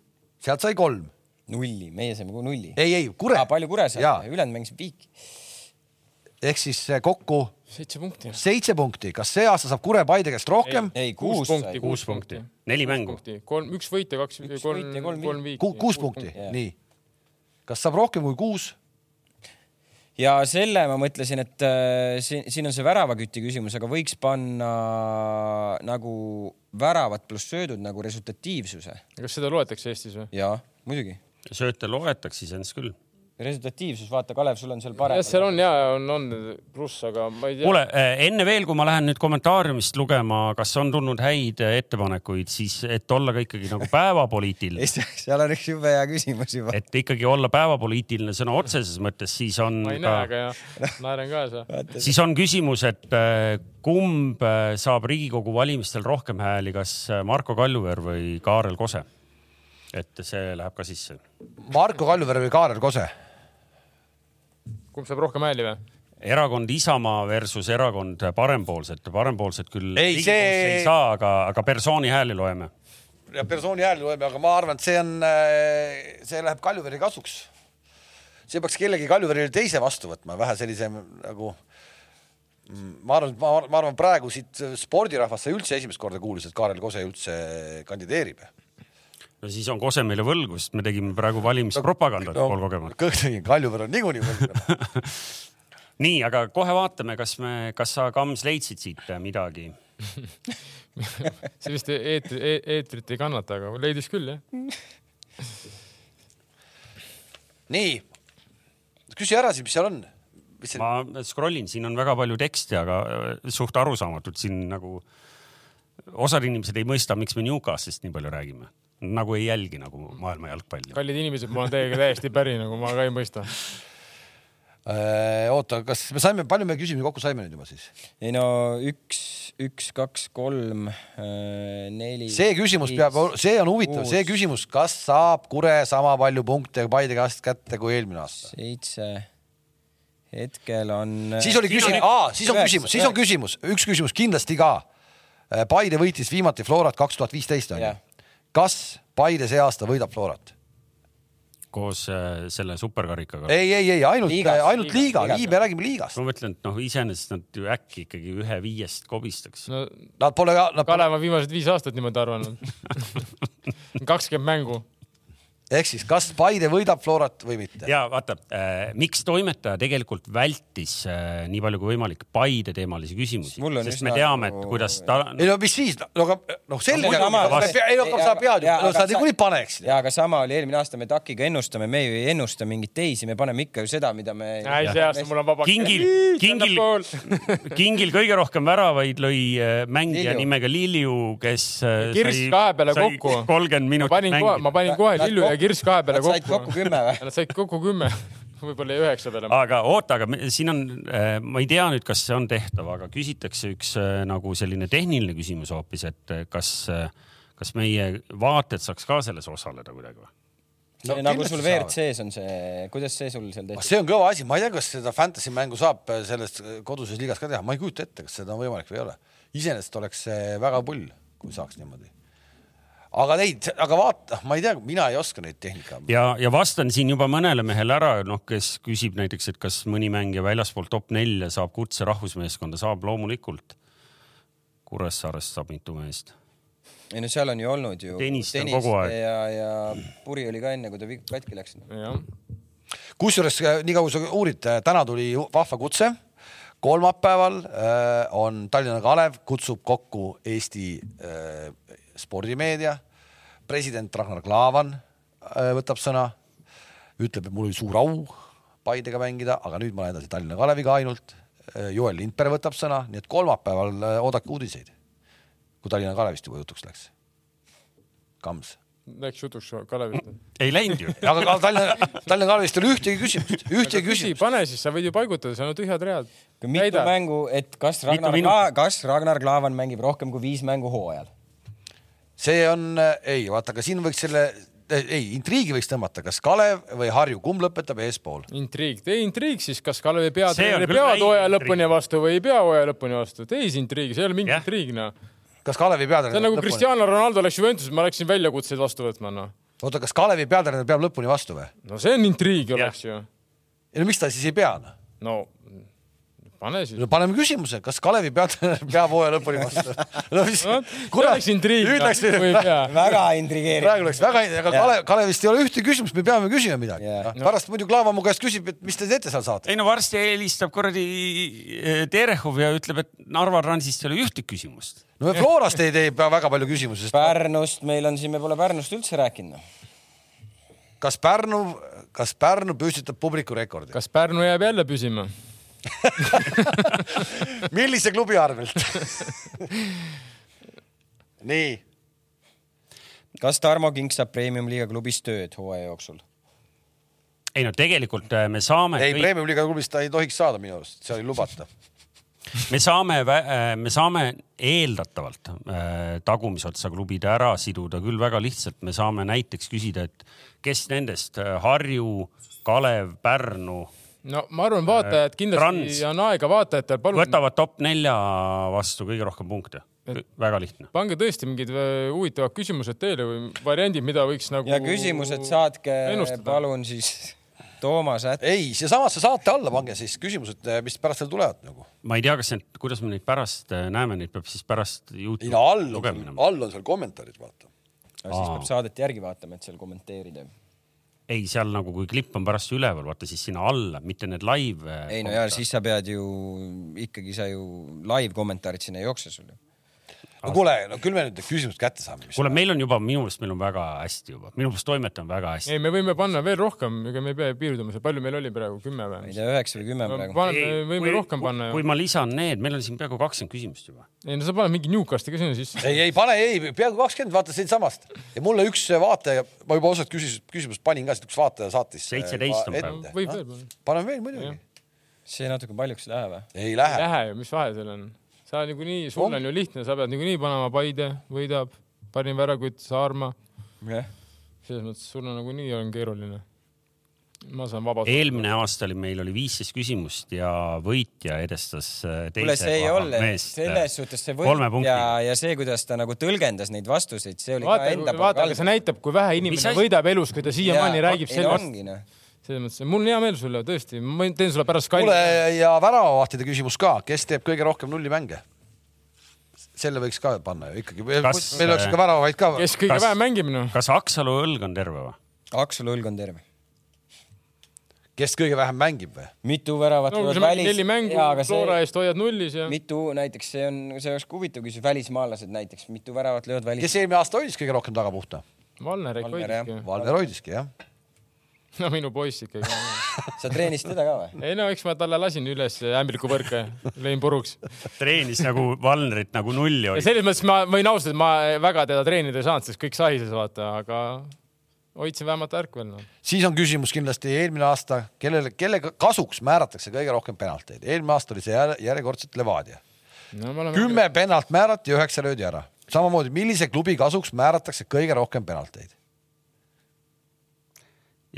sealt sai kolm .
nulli , meie saime kogu nulli .
ei , ei , Kure
Ah, . palju
Jaa.
Kuressaare , ülejäänud mängisid viiki .
ehk siis eh, kokku
seitse punkti .
seitse punkti , kas see aasta saab Kure Paide käest rohkem ?
ei , kuus sai .
kuus punkti , neli mängu .
punkti , kolm , üks võit ja kaks ,
Üks
kolm
võit ja , kolm
kolm
Ku,
viiki .
kuus punkti ,
punkti.
nii . kas saab rohkem kui kuus ?
ja selle ma mõtlesin , et äh, siin , siin on see väravaküti küsimus , aga võiks panna nagu väravad pluss söödud nagu resultatiivsuse .
kas seda loetakse Eestis või ?
jaa , muidugi .
sööte loetakse siis küll .
resultatiivsus , vaata , Kalev , sul on seal
jah ,
parem .
seal on ja on , on pluss , aga ma ei tea .
kuule , enne veel , kui ma lähen nüüd kommentaariumist lugema , kas on tulnud häid eh, ettepanekuid , siis et olla ka ikkagi nagu päevapoliitiline .
seal on üks jube hea küsimus juba .
et ikkagi olla päevapoliitiline sõna otseses mõttes , siis on
ma ei näe ,
ka ,
aga jah , naeran kaasa .
siis on küsimus , et äh, kumb äh, saab Riigikogu valimistel rohkem hääli , kas äh, Marko Kaljuveer või Kaarel Kose ? et see läheb ka sisse .
Marko Kaljuveer või Kaarel Kose ?
kumb saab rohkem hääli või ?
erakond Isamaa versus erakond Parempoolsed , parempoolsed küll
Ei,
Riigikogus
see-
ei saa , aga , aga persooni hääli loeme .
ja persooni hääl loeme , aga ma arvan , et see on , see läheb Kaljuveeri kasuks . see peaks kellegi Kaljuveerile teise vastu võtma , vähe sellise nagu . ma arvan , ma, ma arvan , praegu siit äh, spordirahvas sai üldse esimest korda kuulis , et Kaarel Kose üldse äh, kandideerib .
no siis on Kose meile võlgu , sest me tegime praegu valimispropagandat no, pool kogemata .
Kaljuveer on niikuinii võlgu .
nii , aga kohe vaatame , kas me , kas sa , Kams , leidsid siit midagi
see vist eetri e , eetrit ei kannata , aga leidis küll jah .
nii , küsi ära siis , mis seal on . mis see ,
ma scroll in , siin on väga palju teksti , aga äh, suht arusaamatud siin nagu . osad inimesed ei mõista , miks me Newcastist nii palju räägime , nagu ei jälgi nagu maailma jalgpalli .
kallid inimesed , ma olen teiega täiesti päri , nagu ma ka ei mõista .
Äh, oota , kas me saime , palju me küsimusi kokku saime nüüd juba siis ?
ei no üks , üks , kaks , kolm , neli .
see küsimus peab , see on huvitav , see küsimus , kas saab Kure sama palju punkte Paide käest kätte kui eelmine aasta ?
seitse . hetkel Äh, on .
siis oli küsimus , aa , siis on küsimus , siis on . küsimus , üks küsimus kindlasti ka . Paide võitis viimati Florat kaks tuhat viisteist onju
Jah. .
kas Paide see aasta võidab Florat ?
koos äh, selle superkarikaga .
ei , ei , ei ainult ,
Liigas,
ainult liiga,
liigas,
liiga , me räägime liigast .
ma mõtlen , et noh , iseenesest nad ju äkki ikkagi ühe viiest kobistaks .
no
Nad pole ka , nad pole ,
Kalev on viimased viis aastat niimoodi arvanud . kakskümmend mängu .
ehk siis kas Paide võidab Florat või mitte ?
ja vaata äh, , miks toimetaja tegelikult vältis äh, nii palju kui võimalik Paide teemalisi küsimusi ,
Mul on
sest
üsna
me teame ,
nagu-
et kuidas ta
ei no mis siis , no aga noh , selge ,
muidugi ma-
ei no aga sa pead ju , no sa niikuinii paneksid .
ja aga sama oli eelmine aasta , me TAK-iga ennustame , me ju ei ennusta mingeid teisi , me paneme ikka ju seda , mida me .
ei , see aasta mul on vaba .
kingil , kingil , kingil kõige rohkem väravaid lõi äh, mängija
Lilju.
Lilju. nimega Lilju , kes .
Kirss kahe peale kokku.
kolmkümmend
ma
minutit
panin kohe , ma
mängida .
panin kohe
Nad- nad
Lillu ja
kokku-
Kirss kahe peale
nad said kokku
kokku .
kümme või ?
Nad said kokku kümme , võib-olla jäi üheksa peale .
aga oota , aga me- siin on , ma ei tea nüüd , kas see on tehtav , aga küsitakse üks äh, nagu selline tehniline küsimus hoopis , et äh, kas , kas meie vaated saaks ka selles osaleda kuidagi või ?
No
nagu
kindlasti
sul
saavad.
WRC-s on see , kuidas see sul seal
Ah,
tehti ?
see on kõva asi , ma ei tea , kas seda fantasy mängu saab äh, selles koduses liigas ka teha , ma ei kujuta ette , kas seda on võimalik või ei ole . iseenesest oleks see väga pull , kui saaks niimoodi . aga neid , aga vaata , ma ei tea , mina ei oska neid tehnika .
ja , ja vastan siin juba mõnele mehele ära , noh , kes küsib näiteks , et kas mõni mängija väljaspool top nelja saab kutse rahvusmeeskonda , saab loomulikult . Kuressaarest saab mitu meest .
ei no seal on ju olnud ju .
Tennist on kogu aeg.
ja , ja Puri oli ka enne , kui ta vi- katki läks .
Ah.
jah ,
kusjuures äh, nii kaua sa uurid , täna tuli ju vahva kutse . kolmapäeval äh, on Tallinna Kalev kutsub kokku Eesti äh, spordimeedia , president Ragnar Klavan äh, võtab sõna , ütleb , et mul oli suur au Paidega mängida , aga nüüd ma lähen edasi Tallinna Kaleviga ainult . Joel Lindberg võtab sõna , nii et kolmapäeval äh, oodake uudiseid , kui Tallinna Kalevist juba jutuks läks . Kams
Läks jutuks Kalevist .
ei läinud ju .
aga ka Tallinna , Tallinna Kalevist ei ole ühtegi küsimust , ühtegi
küsi ,
küsimust .
pane siis , sa võid ju paigutada , seal on tühjad read .
mitu Näida. mängu , et kas Ragnar
minu- ,
kas Ragnar Klavan mängib rohkem kui viis mängu hooajal ?
see on , ei vaata , aga siin võiks selle , ei intriigi võiks tõmmata , kas Kalev või Harju , kumb lõpetab eespool ?
intriig , tee intriig siis , kas
See
Kalevi
on
peatreener
küll
peab
väike
hooaja
intriig.
lõpuni vastu või ei pea hooaja lõpuni vastu , teis intriigi , see ei ole mingi
Jah.
intriig noh .
kas Kalevi peatreener
see on
Äh,
nagu
lõpuni-
Cristiano Ronaldo läks Juventusse , ma läksin väljakutseid vastu võtma noh .
oota , kas Kalevi peatreener peab lõpuni vastu või ?
no see on intriig oleks ju .
ei no miks ta siis ei pea noh ?
no pane siis .
no paneme küsimuse , kas Kalevi peatreener peab hooaja lõpuni vastu ? no mis
No, , see
kurat
oleks , intriig . noh,
nüüd läks ,
väga intrigeeriv .
praegu läks väga , aga Kalev , Kalevist ei ole ühtegi küsimust , me peame küsima midagi
Jah.
yeah. . pärast muidu Klaava mu käest küsib , et mis te teete seal saates .
ei no varsti helistab kuradi eh, Terehov ja ütleb , et Narva Transist ei ole ühtegi küsimust .
no me Florast ei tee väga palju küsimusi , sest
Pärnust meil on siin , me pole Pärnust üldse rääkinud .
kas Pärnu , kas Pärnu püstitab publiku rekordi ?
kas Pärnu jääb jälle püsima ?
millise klubi arvelt ? nii ,
kas Tarmo King saab Premium-liiga klubis tööd hooaja jooksul ?
ei no tegelikult eh, me saame
ei , Premium-liiga klubis ta ei tohiks saada minu arust , see oli lubatav .
me saame , me saame eeldatavalt äh, tagumisotsa klubid ära siduda küll väga lihtsalt , me saame näiteks küsida , et kes nendest äh, Harju , Kalev , Pärnu
no ma arvan , vaatajad
Trans.
kindlasti on aega vaatajatel , palun
võtavad top nelja vastu kõige rohkem punkte . väga lihtne .
pange tõesti mingid öö, huvitavad küsimused teile või variandid , mida võiks nagu .
ja küsimused saatke
ennustada.
palun siis Toomas Ätt .
ei , seesamasse saate alla pange siis küsimused , mis pärast veel tulevad nagu .
ma ei tea , kas need , kuidas me neid pärast äh, näeme , neid peab siis pärast Youtube'i
ei no all on
lugemine ,
all on seal kommentaarid , vaata .
siis peab
Aa.
saadet järgi vaatama , et seal kommenteerida .
ei , seal nagu , kui klipp on pärast üleval , vaata siis sinna alla , mitte need live . äh.
ei no ja siis sa pead ju ikkagi sa ju live kommentaarid sinna ei jookse sul ju .
no kuule , no küll me nüüd need küsimused kätte saame .
kuule , meil on juba , minu meelest meil on väga hästi juba , minu meelest toimetame väga hästi .
ei , me võime panna veel rohkem , ega me ei pea piirduma , see palju meil oli praegu , kümme
ma
või
ei ? tea , üheksa või kümme praegu .
Ei,
paneme , võime
kui-
rohkem panna
kui
ju .
ma lisan need , meil on siin peaaegu kakskümmend küsimust juba .
ei no sa pane mingi Newcasti ka sinna sisse .
ei , ei pane , ei , peaaegu kakskümmend , vaata siitsamast . ja mulle üks vaataja , ma juba osalt küsis , küsimust panin ka , sest üks vaataja saatis . eh,
17 on praegu.
võib veel panna .
paneme Ah, veel muidugi .
see natuke paljuks ei lähe või ?
ei lähe .
Lähe ju , mis vahe seal on ? sa niikuinii , sul
On.
on ju lihtne , sa pead niikuinii panema Paide , võidab , parim värakütt , Saarma ,
jah ,
selles mõttes sul on nagunii on keeruline . ma saan vabalt .
eelmine aasta oli , meil oli viisteist küsimust ja võitja edestas äh,
kuule ,
teise
see ei ole ,
meest äh,
selles suhtes see
kolme
võit ja
punktiga. ,
ja see , kuidas ta nagu tõlgendas neid vastuseid , see oli ka
vaata ,
enda
vaata , aga see näitab , kui vähe
Mis
inimene
asi-
võidab elus , kui ta siiamaani räägib sellest .
sellest .
selles mõttes , mul on hea meel sulle tõesti , ma teen sulle pärast
kuule
kalli .
ja väravavahtide küsimus ka , kes teeb kõige rohkem nullimänge ? selle võiks ka panna ju ikkagi , meil
Kas-
meil oleks ka väravavaid ka .
kes kõige
Kas-
vähem mängib , noh .
kas Aksalu õlg on terve või ?
Aksul Õlg on terve .
kes kõige vähem mängib või ?
mitu väravat
no kui
võivad
sa mängid
välis-
neli mängu
jaa, aga see-
Flora eest hoiad nullis ja .
mitu näiteks , see on , see oleks ka huvitav , kui siis välismaalased näiteks , mitu väravat löövad välis-
kes . eelmine aasta hoidis kõige rohkem tagapuhta ?
Valner ikka
Valner, jah.
hoidiski .
Valner hoidiski jah .
no minu poiss ikkagi .
sa treenisid teda ka või ?
ei no eks ma talle lasin üles ämblikuvõrke , lõin puruks .
treenis nagu Valnerit nagu nulli
ja
oli .
selles mõttes ma võin ausalt , ma väga teda treenida ei saanud , sest kõik sahises vaata , aga hoidsin vähemalt noh. ärkvel no. .
siis on küsimus kindlasti eelmine aasta , kellele , kelle kasuks määratakse kõige rohkem penalteid . eelmine aasta oli see jälle- järjekordselt Levadia .
no me oleme .
kümme penalt määrati ja üheksa löödi ära . samamoodi , millise klubi kasuks määratakse kõige rohkem penalteid ?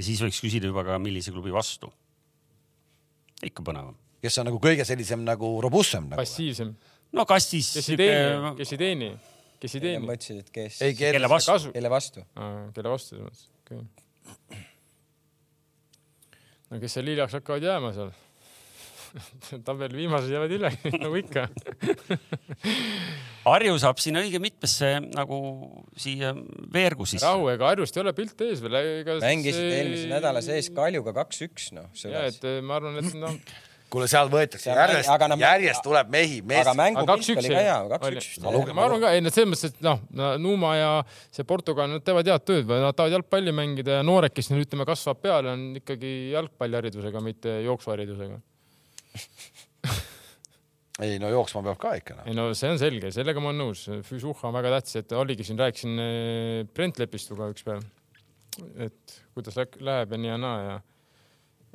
ja siis võiks küsida juba ka , millise klubi vastu . ikka põnevam .
kes on nagu kõige sellisem nagu robustsem nagu ?
passiivsem ,
no kastis .
kes ei
eh,
teeni , kes ei teeni , kes ei
ma
teeni .
ütlesin , et kes ,
ei ,
kelle
kelle vastu ?
vastu ?
kasu ,
kelle vastu .
Ah, kelle vastu selles mõttes , okei okay. . no kes seal hiljaks hakkavad jääma seal ? tabel viimased jäävad hiljaks nagu ikka .
Harju saab siin õige mitmesse nagu siia veergu sisse .
rahu , ega Harjust ei ole pilt ees veel , ega .
mängisid eelmise nädala sees Kaljuga kaks-üks , noh ,
ja
sõjas
et . eh, ma arvan , et noh ,
kuule , seal võetakse
Seal mäng-
järjest ,
aga nad-
järjest tuleb mehi , mees
aga .
aga
mängupilt
kaks-üks
oli ka hea , kaks-üks .
Ma lugen-
ma arvan ka , ei nad selles mõttes , et noh , Numa ja see Portugal , nad teevad head tööd , nad tahavad jalgpalli mängida ja noored , kes neil ütleme kasvab peale , on ikkagi jalgpalliharidusega , mitte jooksuharidusega .
ei no jooksma peab ka ikka noh .
ei no see on selge , sellega ma olen nõus , Füsuha on väga tähtis , et oligi siin , rääkisin eh, Brent Lepistuga ükspäev , et kuidas läk- läheb ja nii ja naa ja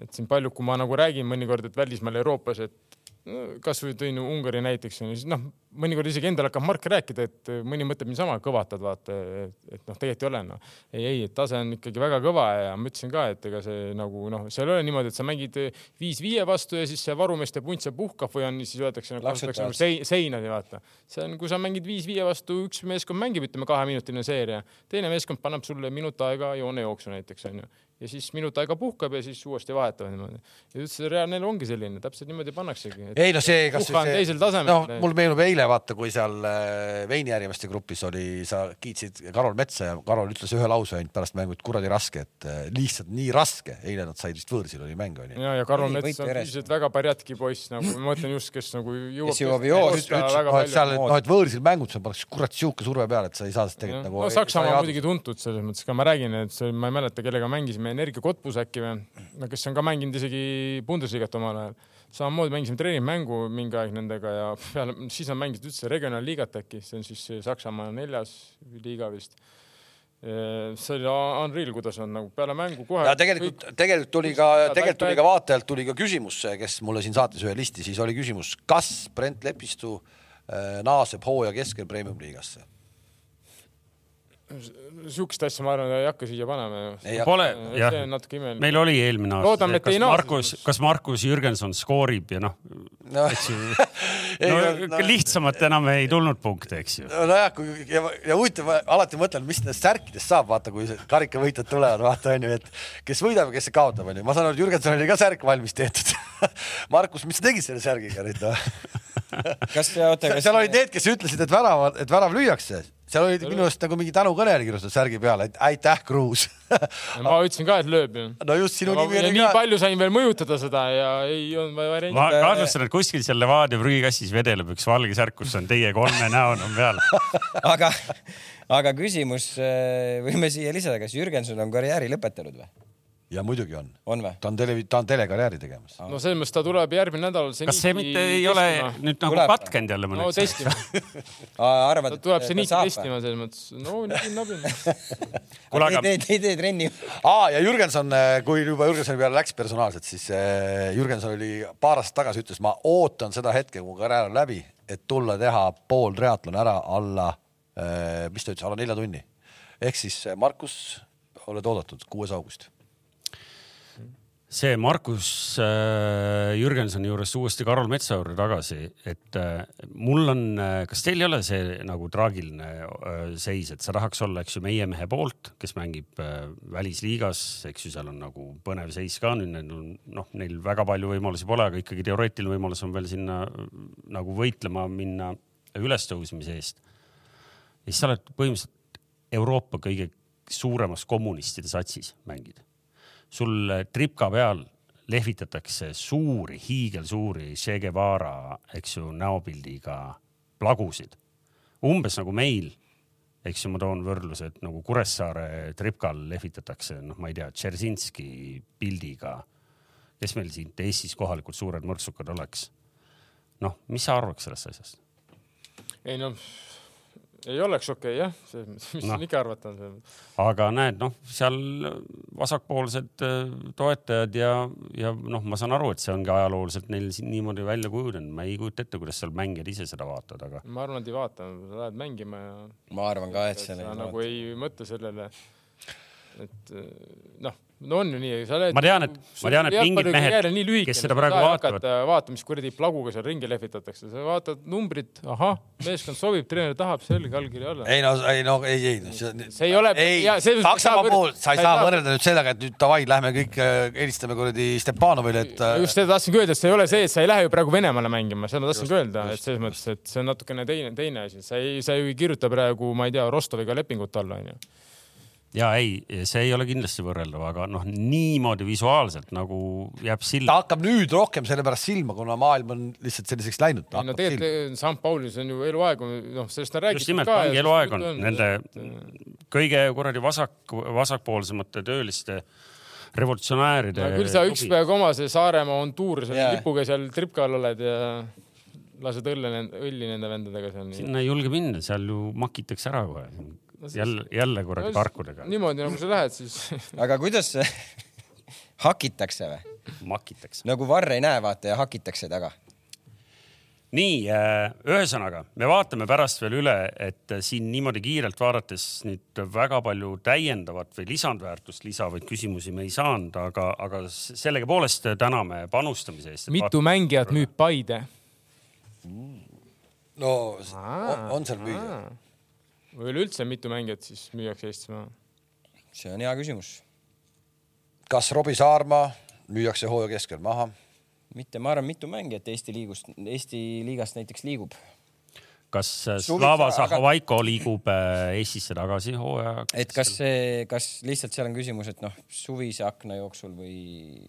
et siin palju , kui ma nagu räägin mõnikord , et välismaal Euroopas , et no, kasvõi tõin Ungari näiteks , noh , mõnikord isegi endal hakkab Mark rääkida , et mõni mõtleb niisama , kõvatad vaata , et, et noh , tegelikult ei ole noh . ei , ei , et tase on ikkagi väga kõva ja ma ütlesin ka , et ega see nagu noh , seal ei ole niimoodi , et sa mängid viis-viie vastu ja siis see varumeeste punt seal puhkab või on , siis öeldakse nagu,
Lapsutavad.
kasutatakse nagu sein- seinani vaata . see on , kui sa mängid viis-viie vastu , üks meeskond mängib , ütleme kaheminutine seeria , teine meeskond paneb sulle minut aega joonejooksu näiteks onju ja siis minut aega puhkab ja siis uuesti vahetavad niimoodi . ja üldse see Real Nel ongi selline , täpselt niimoodi pannaksegi .
ei no see , kas
Puhka on teisel tasemel.
noh , mul meenub eile vaata , kui seal äh, veiniärimeeste grupis oli , sa kiitsid Karol Metsa ja Karol ütles ühe lause ainult pärast mängu , et kuradi raske , et äh, lihtsalt nii raske . eile nad said vist võõrsil oli mäng onju .
ja , ja Karol
Ei,
Mets
võite
on
järjest.
füüsiliselt väga pärjatki poiss , nagu ma mõtlen just , kes nagu jõuab .
Kes jõuab joos-
ütlesid , noh et seal , et noh , et võõrsil mängud , sa paneks kurat sihuke surve peale , et sa ei saa seda
Jah.
tegelikult nagu .
no Saksamaa on . muidugi tuntud selles mõttes ka , ma räägin , et see , ma ei mäleta , kellega mängisime , Energia Kotbus äkki või , no kes on ka mänginud isegi Bundesliga't omal ajal . samamoodi mängisime treeningmängu mingi aeg nendega ja peale , siis nad mängisid üldse regionaalliigat äkki , see on siis see Saksamaa neljas liiga vist . see oli unreal , kuidas nad nagu peale mängu kohe .
ja tegelikult , tegelikult tuli ka , tegelikult tuli ka vaatajalt tuli ka küsimus , kes mulle siin saatis ühe listi , siis oli küsimus , kas Brent Lepistu äh, naaseb hooaja keskel Premium liigasse ?
sihukest asja ma arvan , ei hakka siia panema ju .
ei ,
Pole , jah
see on , natuke imelik .
meil oli eelmine aasta
Loodame, , et
kas
ei naasnud.
Markus , kas Markus Jürgenson skoorib ja noh ,
no,
no,
ei, no,
lihtsamalt enam ei tulnud punkte , eks ju .
nojah , kui ja, ja huvitav , ma alati mõtlen , mis nendest särkidest saab , vaata , kui see karikavõitjad tulevad , vaata onju , et kes võidab ja kes kaotab onju . ma saan aru , et Jürgensonil oli ka särk valmis tehtud . Markus , mis sa tegid selle särgiga nüüd noh ?
kas see , oota ,
seal
kas
seal olid need , kes ütlesid , et värava , et värav lüüakse , seal olid minu arust nagu mingi tänukõne oli kirjutatud särgi peale , et aitäh , Kruus
Ja ma ütlesin ka , et lööb ju .
no just sinu nimi
ja
oli
nii
ka .
palju sain veel mõjutada seda ja ei olnud vaja varianti .
ma kahtlustan , et kuskil seal Levadia prügikassis vedeleb üks valge särk , kus on teie kolme näon on peal .
aga , aga küsimus äh, võime siia lisada , kas Jürgenson on karjääri lõpetanud või ?
ja muidugi on ,
on või ?
ta on tele , ta on telekarjääri tegemas .
no selles mõttes ta tuleb järgmine nädal .
kas see mitte ei ole nüüd nagu
Tuleb.
katkenud jälle
no
mõneks
testima ,
arvad äh,
ta , tuleb see
ta
nii testima selles mõttes . no nii nabin .
Kuule,
Kuule, aga...
aga-
ei tee , ei tee trenni .
aa , ja Jürgenson , kui juba Jürgensoni peale läks personaalselt , siis äh, Jürgenson oli paar aastat tagasi , ütles , ma ootan seda hetke , kui mu karjäär on läbi , et tulla teha pool triatloni ära alla , mis ta ütles , alla nelja tunni . ehk siis äh, Markus , oled oodatud , kuues august .
see Markus äh, Jürgensoni juurest uuesti Karol Metsa juurde tagasi , et äh, mul on , kas teil ei ole see nagu traagiline äh, seis , et sa tahaks olla , eks ju , meie mehe poolt , kes mängib äh, välisliigas , eks ju , seal on nagu põnev seis ka , nüüd neil on noh , neil väga palju võimalusi pole , aga ikkagi teoreetiline võimalus on veel sinna äh, nagu võitlema minna ülestõusmise eest . ja siis sa oled põhimõtteliselt Euroopa kõige suuremas kommunistide satsis mängid . sul äh, tripka peal lehvitatakse suuri , hiigelsuuri Che Guevara , eks ju , näopildiga plagusid . umbes nagu meil , eks ju , ma toon võrdluse , et nagu Kuressaare tripkal lehvitatakse , noh , ma ei tea , Tšerzinski pildiga . kes meil siin Eestis kohalikud suured mõrtsukad oleks ? noh , mis sa arvaks sellest asjast ?
ei noh , ei oleks okei okay, jah , selles mõttes , mis
Noh.
siin ikka arvata on selles mõttes .
aga näed , noh , seal vasakpoolsed äh, toetajad ja , ja noh , ma saan aru , et see ongi ajalooliselt neil siin niimoodi välja kujunenud , ma ei kujuta ette , kuidas seal mängijad ise seda vaatavad , aga
ma arvan , et ei vaata , sa lähed mängima ja
ma arvan ka , et seal
sa
ei
nagu ei mõtle sellele . et eh, noh , no on ju nii , sa nagu- oled .
Ma tean, et- ma tean, et mingid mehed, kes seda praegu vaatavad- .
vaata , mis kuradi plaguga seal ringi lehvitatakse , sa vaatad numbrit , ahah , meeskond sobib , treener tahab , selge allkiri alla .
ei no , ei no , ei , ei .
See ei ole-
ei
jaa, , selles mõttes ei saa
Saksamaa
võrd-
puhul sa
sa
ei saa
ei saa-
võrrelda nüüd sellega , et nüüd davai , lähme kõik äh, helistame kuradi Stepanovile , et äh,
just seda tahtsingi öelda , et see ei ole see , et sa ei lähe ju praegu Venemaale mängima , seda tahtsingi öelda , et selles mõttes , et see on natukene teine , teine asi , sa ei , sa ju ei kirjuta praegu , ma ei tea , Rostoviga lepingut alla , onju .
ja ei , see ei ole kindlasti võrreldav , aga noh , niimoodi visuaalselt nagu jääb
ta
silma .
hakkab nüüd rohkem sellepärast silma , kuna maailm on lihtsalt selliseks läinud .
ei no tegelikult St Paulis on ju eluaeg , noh , sellest on
just
räägitud
nimelt ,
ka .
ongi eluaeg on nende kõige kuradi vasak , vasakpoolsemate tööliste revolutsionääride .
küll sa üks päev oma see Saaremaa on tuur , sa
Jaa.
yeah. lipuga seal tripkal oled ja lased õlle , õlli nende vendadega seal .
sinna ei julge minna , seal ju makitakse ära kohe . jälle , jälle kuradi tarkudega .
niimoodi nagu sa lähed , siis
aga kuidas see hakitakse või ?
makitakse .
nagu Varr ei näe , vaata ja hakitakse taga .
nii , ühesõnaga me vaatame pärast veel üle , et äh, siin niimoodi kiirelt vaadates nüüd väga palju täiendavat või lisandväärtust lisavaid küsimusi me ei saanud , aga , aga s- sellegipoolest täname panustamise eest .
mitu mängijat müüb Paide
no s- on, on seal müüa ?
või üleüldse mitu mängijat siis müüakse Eestis maha ?
see on hea küsimus .
kas Robbie Saarma müüakse hooaja keskel maha ?
mitte , ma arvan , mitu mängijat Eesti liigust , Eesti liigast näiteks liigub .
kas äh,
Suvi-
Slava
aga-
Zahovaiko liigub äh, Eestisse tagasi hooaja ?
et kas see , kas lihtsalt seal on küsimus , et noh , suvise akna jooksul või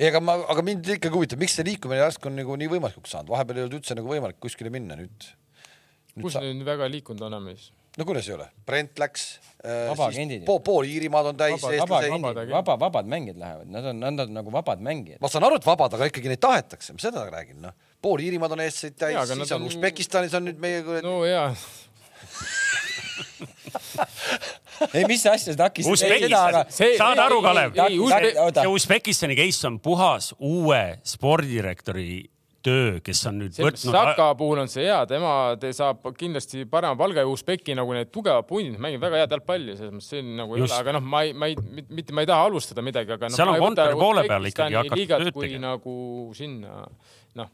ega ma , aga mind ikkagi huvitab , miks see liikumine järsku on nagu nii võimalikuks saanud , vahepeal ei olnud üldse nagu võimalik kuskile minna nüüd .
kus sa... nüüd väga liikunud oleme siis ?
no kuidas ei ole , Brent läks äh, ,
Vabaagendid.
pool, pool Iirimaad on täis ,
Vabad-
eestlasi .
vabad-
vabad , vaba , vabad mängijad lähevad , nad on , nad on nagu vabad mängijad .
ma saan aru , et vabad , aga ikkagi neid tahetakse , ma seda räägin , noh . pool Iirimaad on eestlased täis
Jaa, , aga nad
siis on
on-
Usbekistanis on nüüd meie kuradi no. ,
no jaa ,
ei , mis asja sa takistad ?
See-
saad
ei,
aru ,
ei,
Kalev ?
ei, Usbe-
see Usbekistani case on puhas uue spordidirektori töö , kes on nüüd
see
võtnud .
Saka puhul on see hea , tema te saab kindlasti parema palga ja Usbeki nagu need tugevad pundid mängib väga head jalgpalli , selles mõttes see nagu ei
Just.
ole , aga noh , ma ei , ma ei , mitte ma ei taha alustada midagi , aga noh,
Seal on
ma ei võta
kontori poole peal
Usbekistani
ikkagi hakata
liigat
tööd
kui
tegema.
nagu sinna noh ,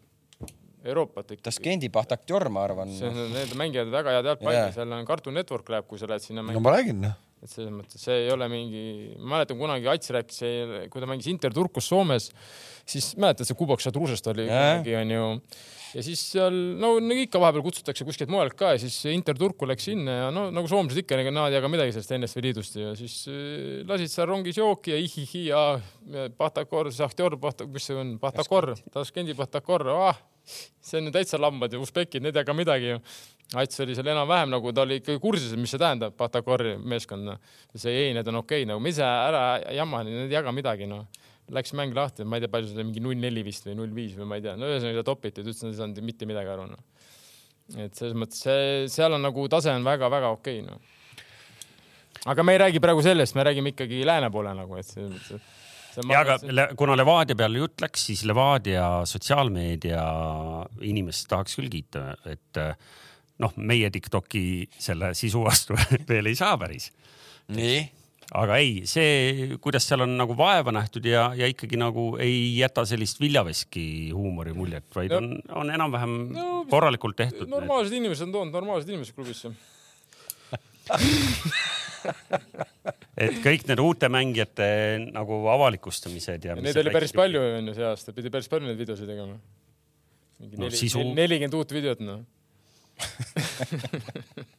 Euroopat ikkagi .
Taskendi Bahtaktior , ma arvan .
see on , need mängijad väga head jalgpalli
Jaa.
yeah. , seal on Cartoon Network läheb , kui sa lähed sinna mängima
no . ma räägin , noh .
et selles mõttes see ei ole mingi , ma mäletan kunagi Ats rääkis , kui ta mängis Inter Turkus Soomes , siis mäletad see Kubok Šadružest oli
Jaa.
kunagi onju . ja siis seal no nagu ikka vahepeal kutsutakse kuskilt mujalt ka ja siis Inter Turku läks sinna ja no nagu soomlased ikka , ega nad ei jaga midagi sellest NSV Liidust ja siis eh, lasid seal rongis jooki ja ihihi ja ja Pahtakor , Šahtjor , Pahtak , mis see on , Pahtakor , Taskendi Pahtakor ah, , see on ju täitsa lambad ja usbekid , need ei jaga midagi ju . Ats oli seal enam-vähem nagu ta oli ikkagi kursis , mis see tähendab , Patakori meeskond . see ei , need on okei okay, , nagu me ise ära jama , need ei jaga midagi , noh . Läks mäng lahti , ma ei tea , palju see oli , mingi null neli vist või null viis või ma ei tea , no ühesõnaga ta topiti , ta ütles , et nad ei saanud mitte midagi aru , noh . et selles mõttes see , seal on nagu tase on väga-väga okei okay, , noh . aga me ei räägi praegu sellest , me räägime ikkagi lääne poole nagu , et selles mõttes , et see on-
ja aga Le- kuna Levadia peale jutt läks , siis Levadia sotsiaalmeedia inimest tahaks küll kiita , et äh, noh , meie Tiktoki selle sisu vastu veel ei saa päris
nii .
aga ei , see , kuidas seal on nagu vaeva nähtud ja , ja ikkagi nagu ei jäta sellist viljaveski huumori muljet , vaid
No.
on , on enam-vähem no,
No,
korralikult tehtud .
normaalsed inimesed on toonud normaalsed inimesed klubisse .
et kõik need uute mängijate nagu avalikustamised ja,
ja neid oli päris . palju ju onju see aasta , pidi päris palju neid videosid tegema . mingi
No
neli
sisu- ,
nelikümmend uut videot noh .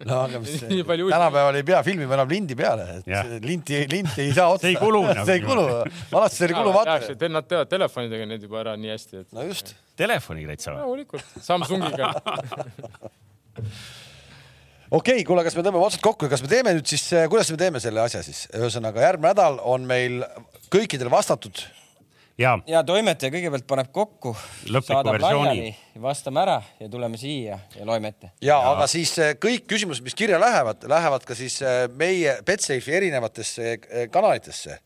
no aga mis
Nii palju uusi-
tänapäeval ei pea filmima enam lindi peale ,
Jah.
et linti , linti ei saa otsa .
See ei kulu
see ei
nagu.
kulu , vanasti see oli kuluvaate .
Nad teevad telefonidega neid juba ära nii hästi , et
no just ,
telefoniga täitsa või ?
rahulikult Samsungiga
okei okay, , kuule , kas me tõmbame otsad kokku ja kas me teeme nüüd siis , kuidas me teeme selle asja siis , ühesõnaga järgmine nädal on meil kõikidel vastatud ,
ja
ja toimetaja kõigepealt paneb kokku ,
Lõpliku
saadab
versiooni.
laiali , vastame ära ja tuleme siia ja loeme ette .
ja aga siis eh, kõik küsimused , mis kirja lähevad , lähevad ka siis eh, meie Betsafe'i erinevatesse eh, kanalitesse ,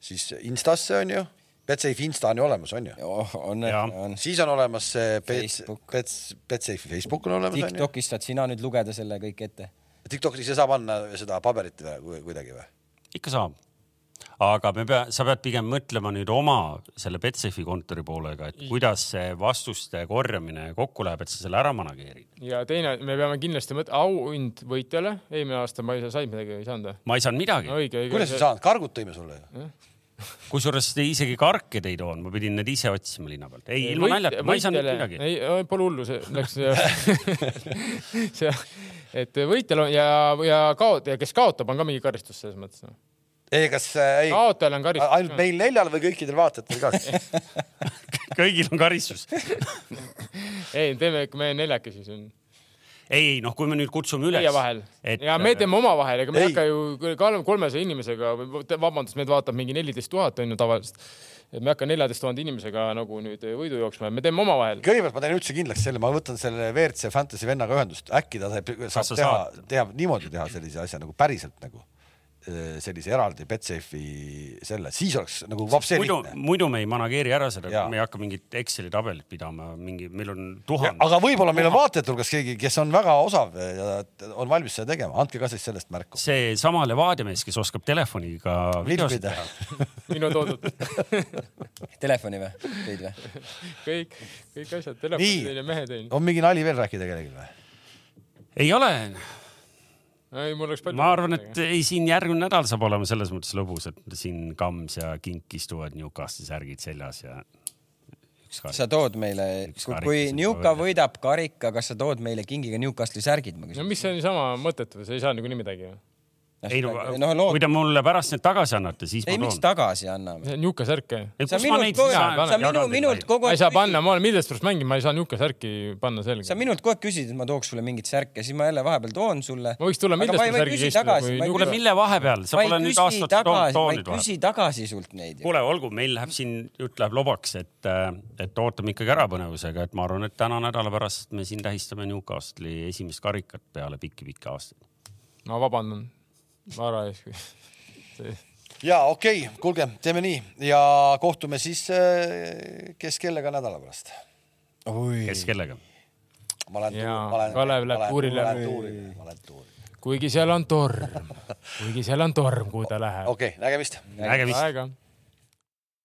siis Instasse on ju , Betsafe Insta on ju olemas , on ju ,
Oh, on ,
Jaa.
on .
siis on olemas see Bets-
Facebook. ,
Bets- , Betsafe'i Facebook on olemas , on ju ,
Tiktokis saad sina nüüd lugeda selle kõik ette .
TikTokis ei saa panna seda paberit või- või kuidagi või ?
ikka saab . aga me pea , sa pead pigem mõtlema nüüd oma selle Betsafe kontori poolega , et kuidas see vastuste korjamine kokku läheb , et sa selle ära manageerid .
ja teine , me peame kindlasti mõt- , auhind võitjale , eelmine aasta ma ei saa , said midagi , ei saanud või ?
ma ei saanud midagi ,
õige , õige .
kuidas ei saanud , kargud tõime sulle ju ?
kusjuures te isegi karkeid ei toonud , ma pidin need ise otsima linna pealt . ei , ilma naljata , ma ei saanud midagi .
ei , pole hullu , see läks . see , et võitjal on ja , ja kaotaja , kes kaotab , on ka mingi karistus selles mõttes .
ei , kas äh, ei ,
kaotajal on karistus .
ainult meil neljal või kõikidel vaatajatel ka ?
kõigil on karistus .
ei , teeme ikka meie neljakesi siin .
ei , noh , kui me nüüd kutsume üles .
meie vahel . ja me teeme omavahel , ega me ei hakka ju kolm- kolmesaja inimesega , vabandust , meid vaatab mingi neliteist tuhat on ju tavaliselt . et me ei hakka neljateist tuhande inimesega nagu nüüd võidu jooksma , me teeme omavahel .
kõigepealt ma teen üldse kindlaks selle , ma võtan selle WRC Fantasy vennaga ühendust , äkki ta saab, saab
sa
teha
saad? ,
teha niimoodi teha sellise asja nagu päriselt nagu eh, sellise eraldi Betsafe'i selle , siis oleks nagu vapsi
muidu ,
lihtne .
muidu me ei manageeri ära seda
Jaa. ,
me ei hakka mingit Exceli tabelit pidama , mingi , meil on tuhand .
aga võib-olla meil on vaatajate hulgas keegi , kes on väga osav ja on valmis seda tegema , andke ka siis sellest märku .
see sama Levadia mees , kes oskab telefoniga .
videosid teha .
minu toodud
Telefoni või ? tõid või ?
kõik , kõik asjad ,
Nii.
telefon teine , mehe teine .
on mingi nali veel rääkida kellelgi või ?
ei ole ,
ei , mul oleks palju .
ma arvan , et ei , siin järgmine nädal saab olema selles mõttes lõbus , et siin Kams ja Kink istuvad Newcasti särgid seljas ja ükskõik .
sa tood meile
Üks , karikas
kui
on
Newca
ka veel.
võidab karika , kas sa tood meile kingiga Newcastli särgid , ma
no
küsin .
mis see on niisama mõttetu , sa ei saa niikuinii midagi ju .
ei no, äh,
no loo-
kui , te mulle pärast need tagasi annate , siis
noh, ei
ma
miks
toon .
tagasi anname ?
see on Juka särk jah .
sa minult kogu aeg , sa minu , minult kogu
ma
aeg
ei saa panna , ma olen Middlesbrough's mängima , ma ei saa Juka särki panna selga .
sa minult kogu aeg küsid , et ma tooks sulle mingit särke , siis ma jälle vahepeal toon sulle .
Ma võiks tulla Middlesbrough'i särgiga istuda, kui
ma ei
kuule ,
küsi-
mille vahepeal , sa
ma ei
pole nüüd
küsi
aastat toonud ,
tagasi , ma
toonud
ei
vahepeal .
küsi tagasi sult neid .
kuule , olgu , meil läheb siin , jutt läheb lobaks , et , et ootame ikkagi ära põnevusega , et ma arvan , et täna nädala pärast me siin tähistame Newcastli esimest karikat peale pikki-pikki aastaid .
ma vabandan . ma ära ei oska .
ja okei okay, , kuulge , teeme nii ja kohtume siis eh, kes kellega nädala pärast .
kes kellega ?
ma lähen
Jaa,
tuuri- ma lähen-
Kalev
ma lähen-
läheb tuurile.
ma lähen tuurile , ma lähen tuurile .
kuigi seal on torm , kuigi seal on torm , kuhu ta läheb .
okei okay, , nägemist
nägemist .
aega